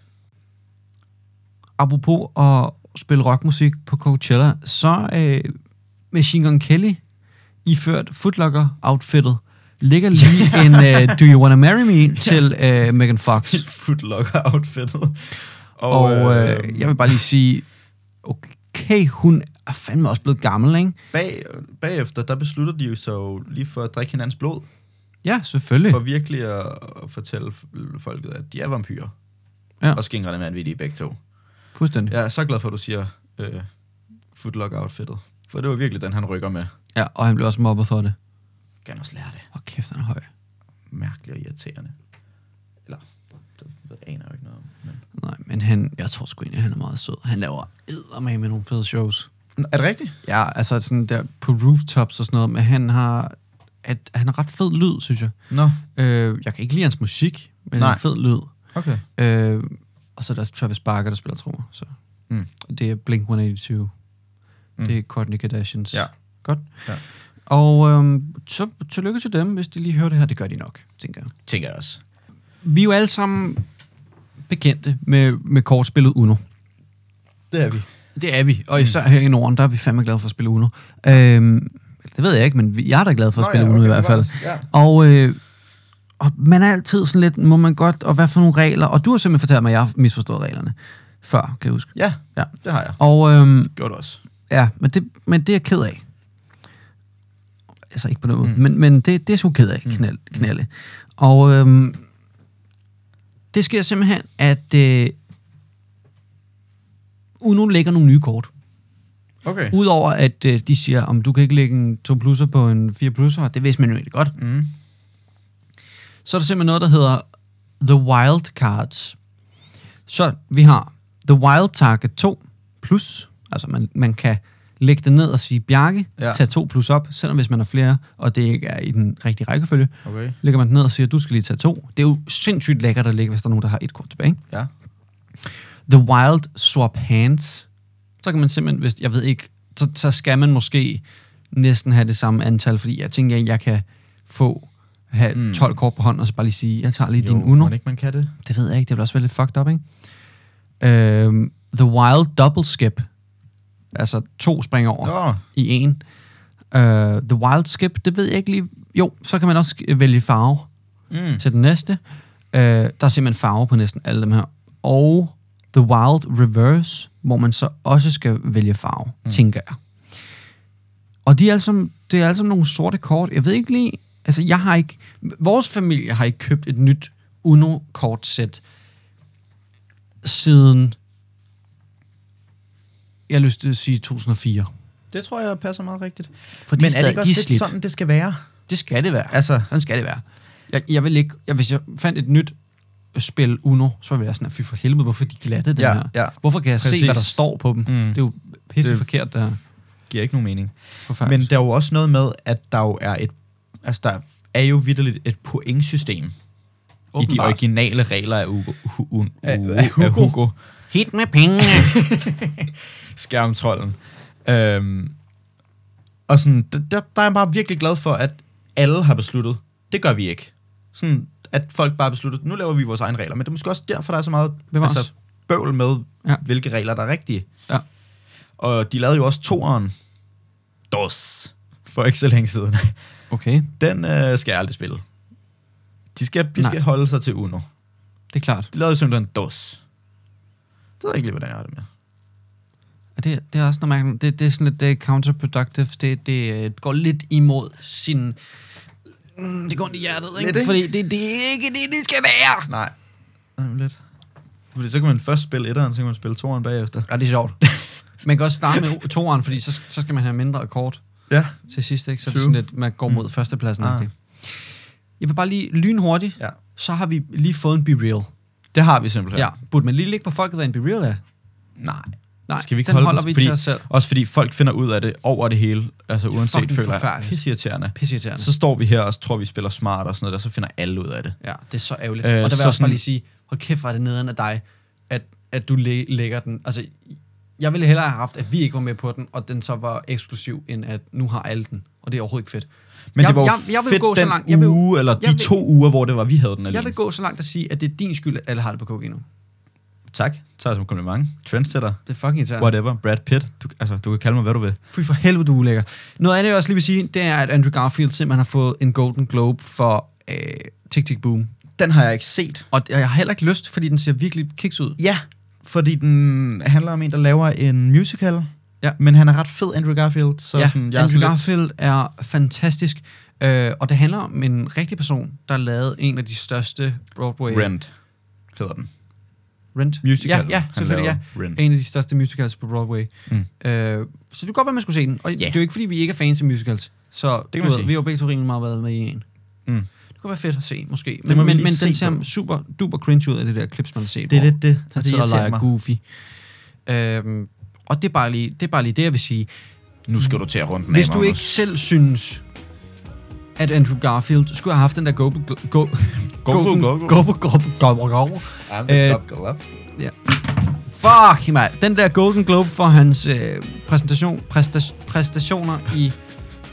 apropos at spille rockmusik på Coachella, så øh, Machine Gun Kelly, iført footlocker-outfittet, ligger lige en øh, Do You Wanna Marry Me til øh, Megan Fox. Footlocker-outfittet. Og øhm, øh, jeg vil bare lige sige, okay, hun er fandme også blevet gammel, ikke? bag, bagefter, der beslutter de jo så lige for at drikke hinandens blod, Ja, selvfølgelig. for virkelig at, at fortælle f- folket, at de er vampyrer. Ja. Og skingrende vanvittige begge to. Fuldstændig. Ja. Jeg er så glad for, at du siger øh, footlock-outfittet. For det var virkelig den, han rykker med. ja, og han blev også mobbet for det. Kan også lære det. Og kæft, han er høj. Mærkeligt og irriterende. Eller, det, det aner jeg jo ikke noget om. Men. Nej, men han, jeg tror sgu egentlig, han er meget sød. Han laver eddermame med nogle fede shows. Nå, Er det rigtigt? Ja, altså sådan der på rooftops og sådan noget, men han har, at, han har ret fed lyd, synes jeg. Nå, Øh, jeg kan ikke lide hans musik, Nej. men Nej. han har fed lyd. okay. Øh, og så er der også Travis Barker, der spiller trommer. Så. Mm. Og Det er Blink-182. Mm. Mm. Det er Courtney Kardashians. Ja. Godt. Ja. Og øhm, så tillykke til dem, hvis de lige hører det her. Det gør de nok, tænker jeg. Tænker jeg også. Vi er jo alle sammen bekendte med, med kortspillet Uno. Det er vi. Det er vi, Mm. og især her i Norden, der er vi fandme glade for at spille Uno. Øhm, det ved jeg ikke, men vi- jeg er da glad for at spille Uno i hvert fald. Ja. Og, øh, og man er altid sådan lidt, må man godt, og hvad for nogle regler? Og du har simpelthen fortalt mig, at jeg har misforstået reglerne før, kan jeg huske. ja, Ja. det har jeg. Og øhm, Gjort også. ja, men det, men det er jeg ked af. Altså ikke på den måde, Mm. mm. men, men det, det er jeg sgu ked af, knæl, knælle. Og øhm, det sker simpelthen, at øh, Uno lægger nogle nye kort. Okay. Udover at øh, de siger, om du kan ikke lægge en 2 plusser på en 4 plusser, det vidste man jo egentlig godt. Mm. så er der simpelthen noget, der hedder The Wild Cards. Så vi har The Wild Target 2 plus, altså man, man kan lægge det ned og sige, Bjarke, Ja. ja. tag 2 plus op, selvom hvis man har flere, og det ikke er i den rigtige rækkefølge, Okay. lægger man det ned og siger, du skal lige tage 2. Det er jo sindssygt lækkert at lægge, hvis der er nogen, der har et kort tilbage. ikke? Ja. The Wild Swap Hands. Så kan man simpelthen, hvis, jeg ved ikke, så, så skal man måske næsten have det samme antal, fordi jeg tænker, at jeg kan få have Mm. mm. 12 kort på hånden, og så bare lige sige, jeg tager lige jo, din mon Uno. ikke man kan det? Det ved jeg ikke, det vil også være lidt fucked up, ikke? Øhm, the Wild Double Skip. Altså to spring over Nå, i en. Uh, the Wild Skip, det ved jeg ikke lige. Jo, så kan man også sk- vælge farve mm. til den næste. Øh, der er simpelthen farve på næsten alle dem her. Og The Wild Reverse, hvor man så også skal vælge farve, mm. tænker jeg. Og de er altså, det er altså nogle sorte kort. Jeg ved ikke lige, Altså, jeg har ikke... Vores familie har ikke købt et nyt Uno-kortsæt siden... Jeg har lyst til at sige 2004. Det tror jeg passer meget rigtigt. For de Men er er det stadig- ikke de også er lidt slidt. sådan, det skal være? Det skal det være. Altså, Sådan skal det være. Jeg, jeg vil ikke... Jeg, hvis jeg fandt et nyt spil Uno, så ville jeg sådan, at fy for helvede, hvorfor er de glatte den Ja, her? ja. Hvorfor kan jeg Præcis. Præcis. se, hvad der står på dem? Mm. Det er jo pisse forkert, det her. giver ikke nogen mening. Forfærdeligt. Men der er jo også noget med, at der jo er et... Altså, der er jo vidderligt et pointsystem i de Åbenbart. originale regler af Hugo, hu, hu, Af- hu, af Hugo. Af Hugo Hit med pengene! skærmtrollen. Øhm, og sådan, der- der, der er jeg bare virkelig glad for, at alle har besluttet, det gør vi ikke. Sådan, at folk bare har besluttet, nu laver vi vores egne regler. Men det er måske også derfor, der er så meget altså, Bevares. bøvl med, ja. Ja. hvilke regler, der er rigtige. Ja. Og de lavede jo også toeren. DOS. For ikke så længe siden. Okay, Den øh, skal jeg aldrig spille. De skal, de Nej. skal holde sig til Uno. det er klart. De lavede jo simpelthen DOS. Det ved jeg ikke lige, hvordan jeg har det med. Og det, det er også noget mærkeligt. Det, det er sådan lidt det er counterproductive. Det, det øh, går lidt imod sin... Mm, det går ondt i hjertet, ikke? Lidt, ikke? Fordi det, det er ikke det, det skal være. Nej. Jamen lidt. Fordi så kan man først spille etteren, så kan man spille toeren bagefter. Ja, det er sjovt. Man kan også starte med toeren, fordi så, så skal man have mindre akkord Ja. til sidst, ikke? Så er det True. sådan lidt, man går mod førstepladsen. Ah. Ah. Jeg vil bare lige lynhurtigt, Ja. så har vi lige fået en Be Real. Det har vi simpelthen. Ja. Burde man lige ligge på folket, hvad en Be Real er? Nej. Nej, Skal vi ikke den holde holder den? vi Fordi- til os selv. Også fordi folk finder ud af det over det hele. Altså det uanset fucking føler jeg. forfærdeligt. Pisseirriterende. Pisseirriterende. Så står vi her og tror, vi spiller smart og sådan noget, og så finder alle ud af det. Ja, det er så ærgerligt. Øh, Øh, og der vil så jeg også sådan- bare lige sige, hold kæft, hvor er det nederen af dig, at, at du læ- lægger den. Altså, jeg ville hellere have haft, at vi ikke var med på den, og den så var eksklusiv, end at nu har alle den. Og det er overhovedet ikke fedt. Men jeg, det var jo jeg, jeg vil fedt gå den så langt. Jeg vil, uge, eller de jeg vil- to uger, hvor det var, vi havde den alene. jeg vil gå så langt at sige, at det er din skyld, at alle har det på kokain nu. Tak. Tak som kompliment. Trendsetter. Det er fucking irriterende. Whatever. Brad Pitt. Du, altså, du kan kalde mig, hvad du vil. Fy for helvede, du er ulækker. Noget andet, jeg også lige vil sige, det er, at Andrew Garfield simpelthen har fået en Golden Globe for øh, Tick Tick Boom. Den har jeg ikke set. Og jeg har heller ikke lyst, fordi den ser virkelig kiks ud. Ja, fordi den handler om en, der laver en musical. Ja. Men han er ret fed, Andrew Garfield. Så ja, sådan, jeg er Andrew sådan lidt- Garfield er fantastisk, øh, og det handler om en rigtig person, der lavede en af de største Broadway... Rent hedder den. Rent? Musical. Ja, ja Han selvfølgelig, ja. laver Rent. En af de største musicals på Broadway. Mm. Mm. Øh, så det kunne godt være, man skulle se den. Og det er jo ikke, fordi vi ikke er fans af musicals. Så det kan kan man man sige. vi har jo begge to rimelig meget været med i en. Mm. Det kunne være fedt at se, måske. må Men, vi men, lige men se den ser på. super duper cringe ud af det der klips, man har set. Det er hvor- lidt det. Han det sidder og irriterer leger mig. goofy. Øhm, og det er, bare lige, det er bare lige det, jeg vil sige. Nu skal du til at runde den Hvis af, du Magnus. ikke selv synes, at Andrew Garfield skulle have haft den der go go go Go- go- go- go go go go go Ja, Øh, det er godt, godt. Fuck, mand. Den der Golden Globe for hans øh, præsentation, præsta, præstationer i...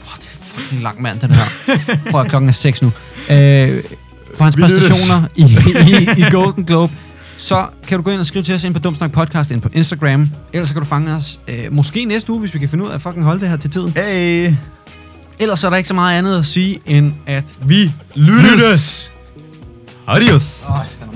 Oh, det er fucking lang, mand, den her. Prøv at klokken er 6 nu. Øh, for hans Vi lyttes. præstationer i, i, i Golden Globe. Så kan du gå ind og skrive til os ind på Dumsnak Podcast, ind på Instagram. Ellers så kan du fange os øh, måske næste uge, hvis vi kan finde ud af at fucking holde det her til tiden. Hey, Ellers så er der ikke så meget andet at sige, end at vi lyttes. Adios. Oscar.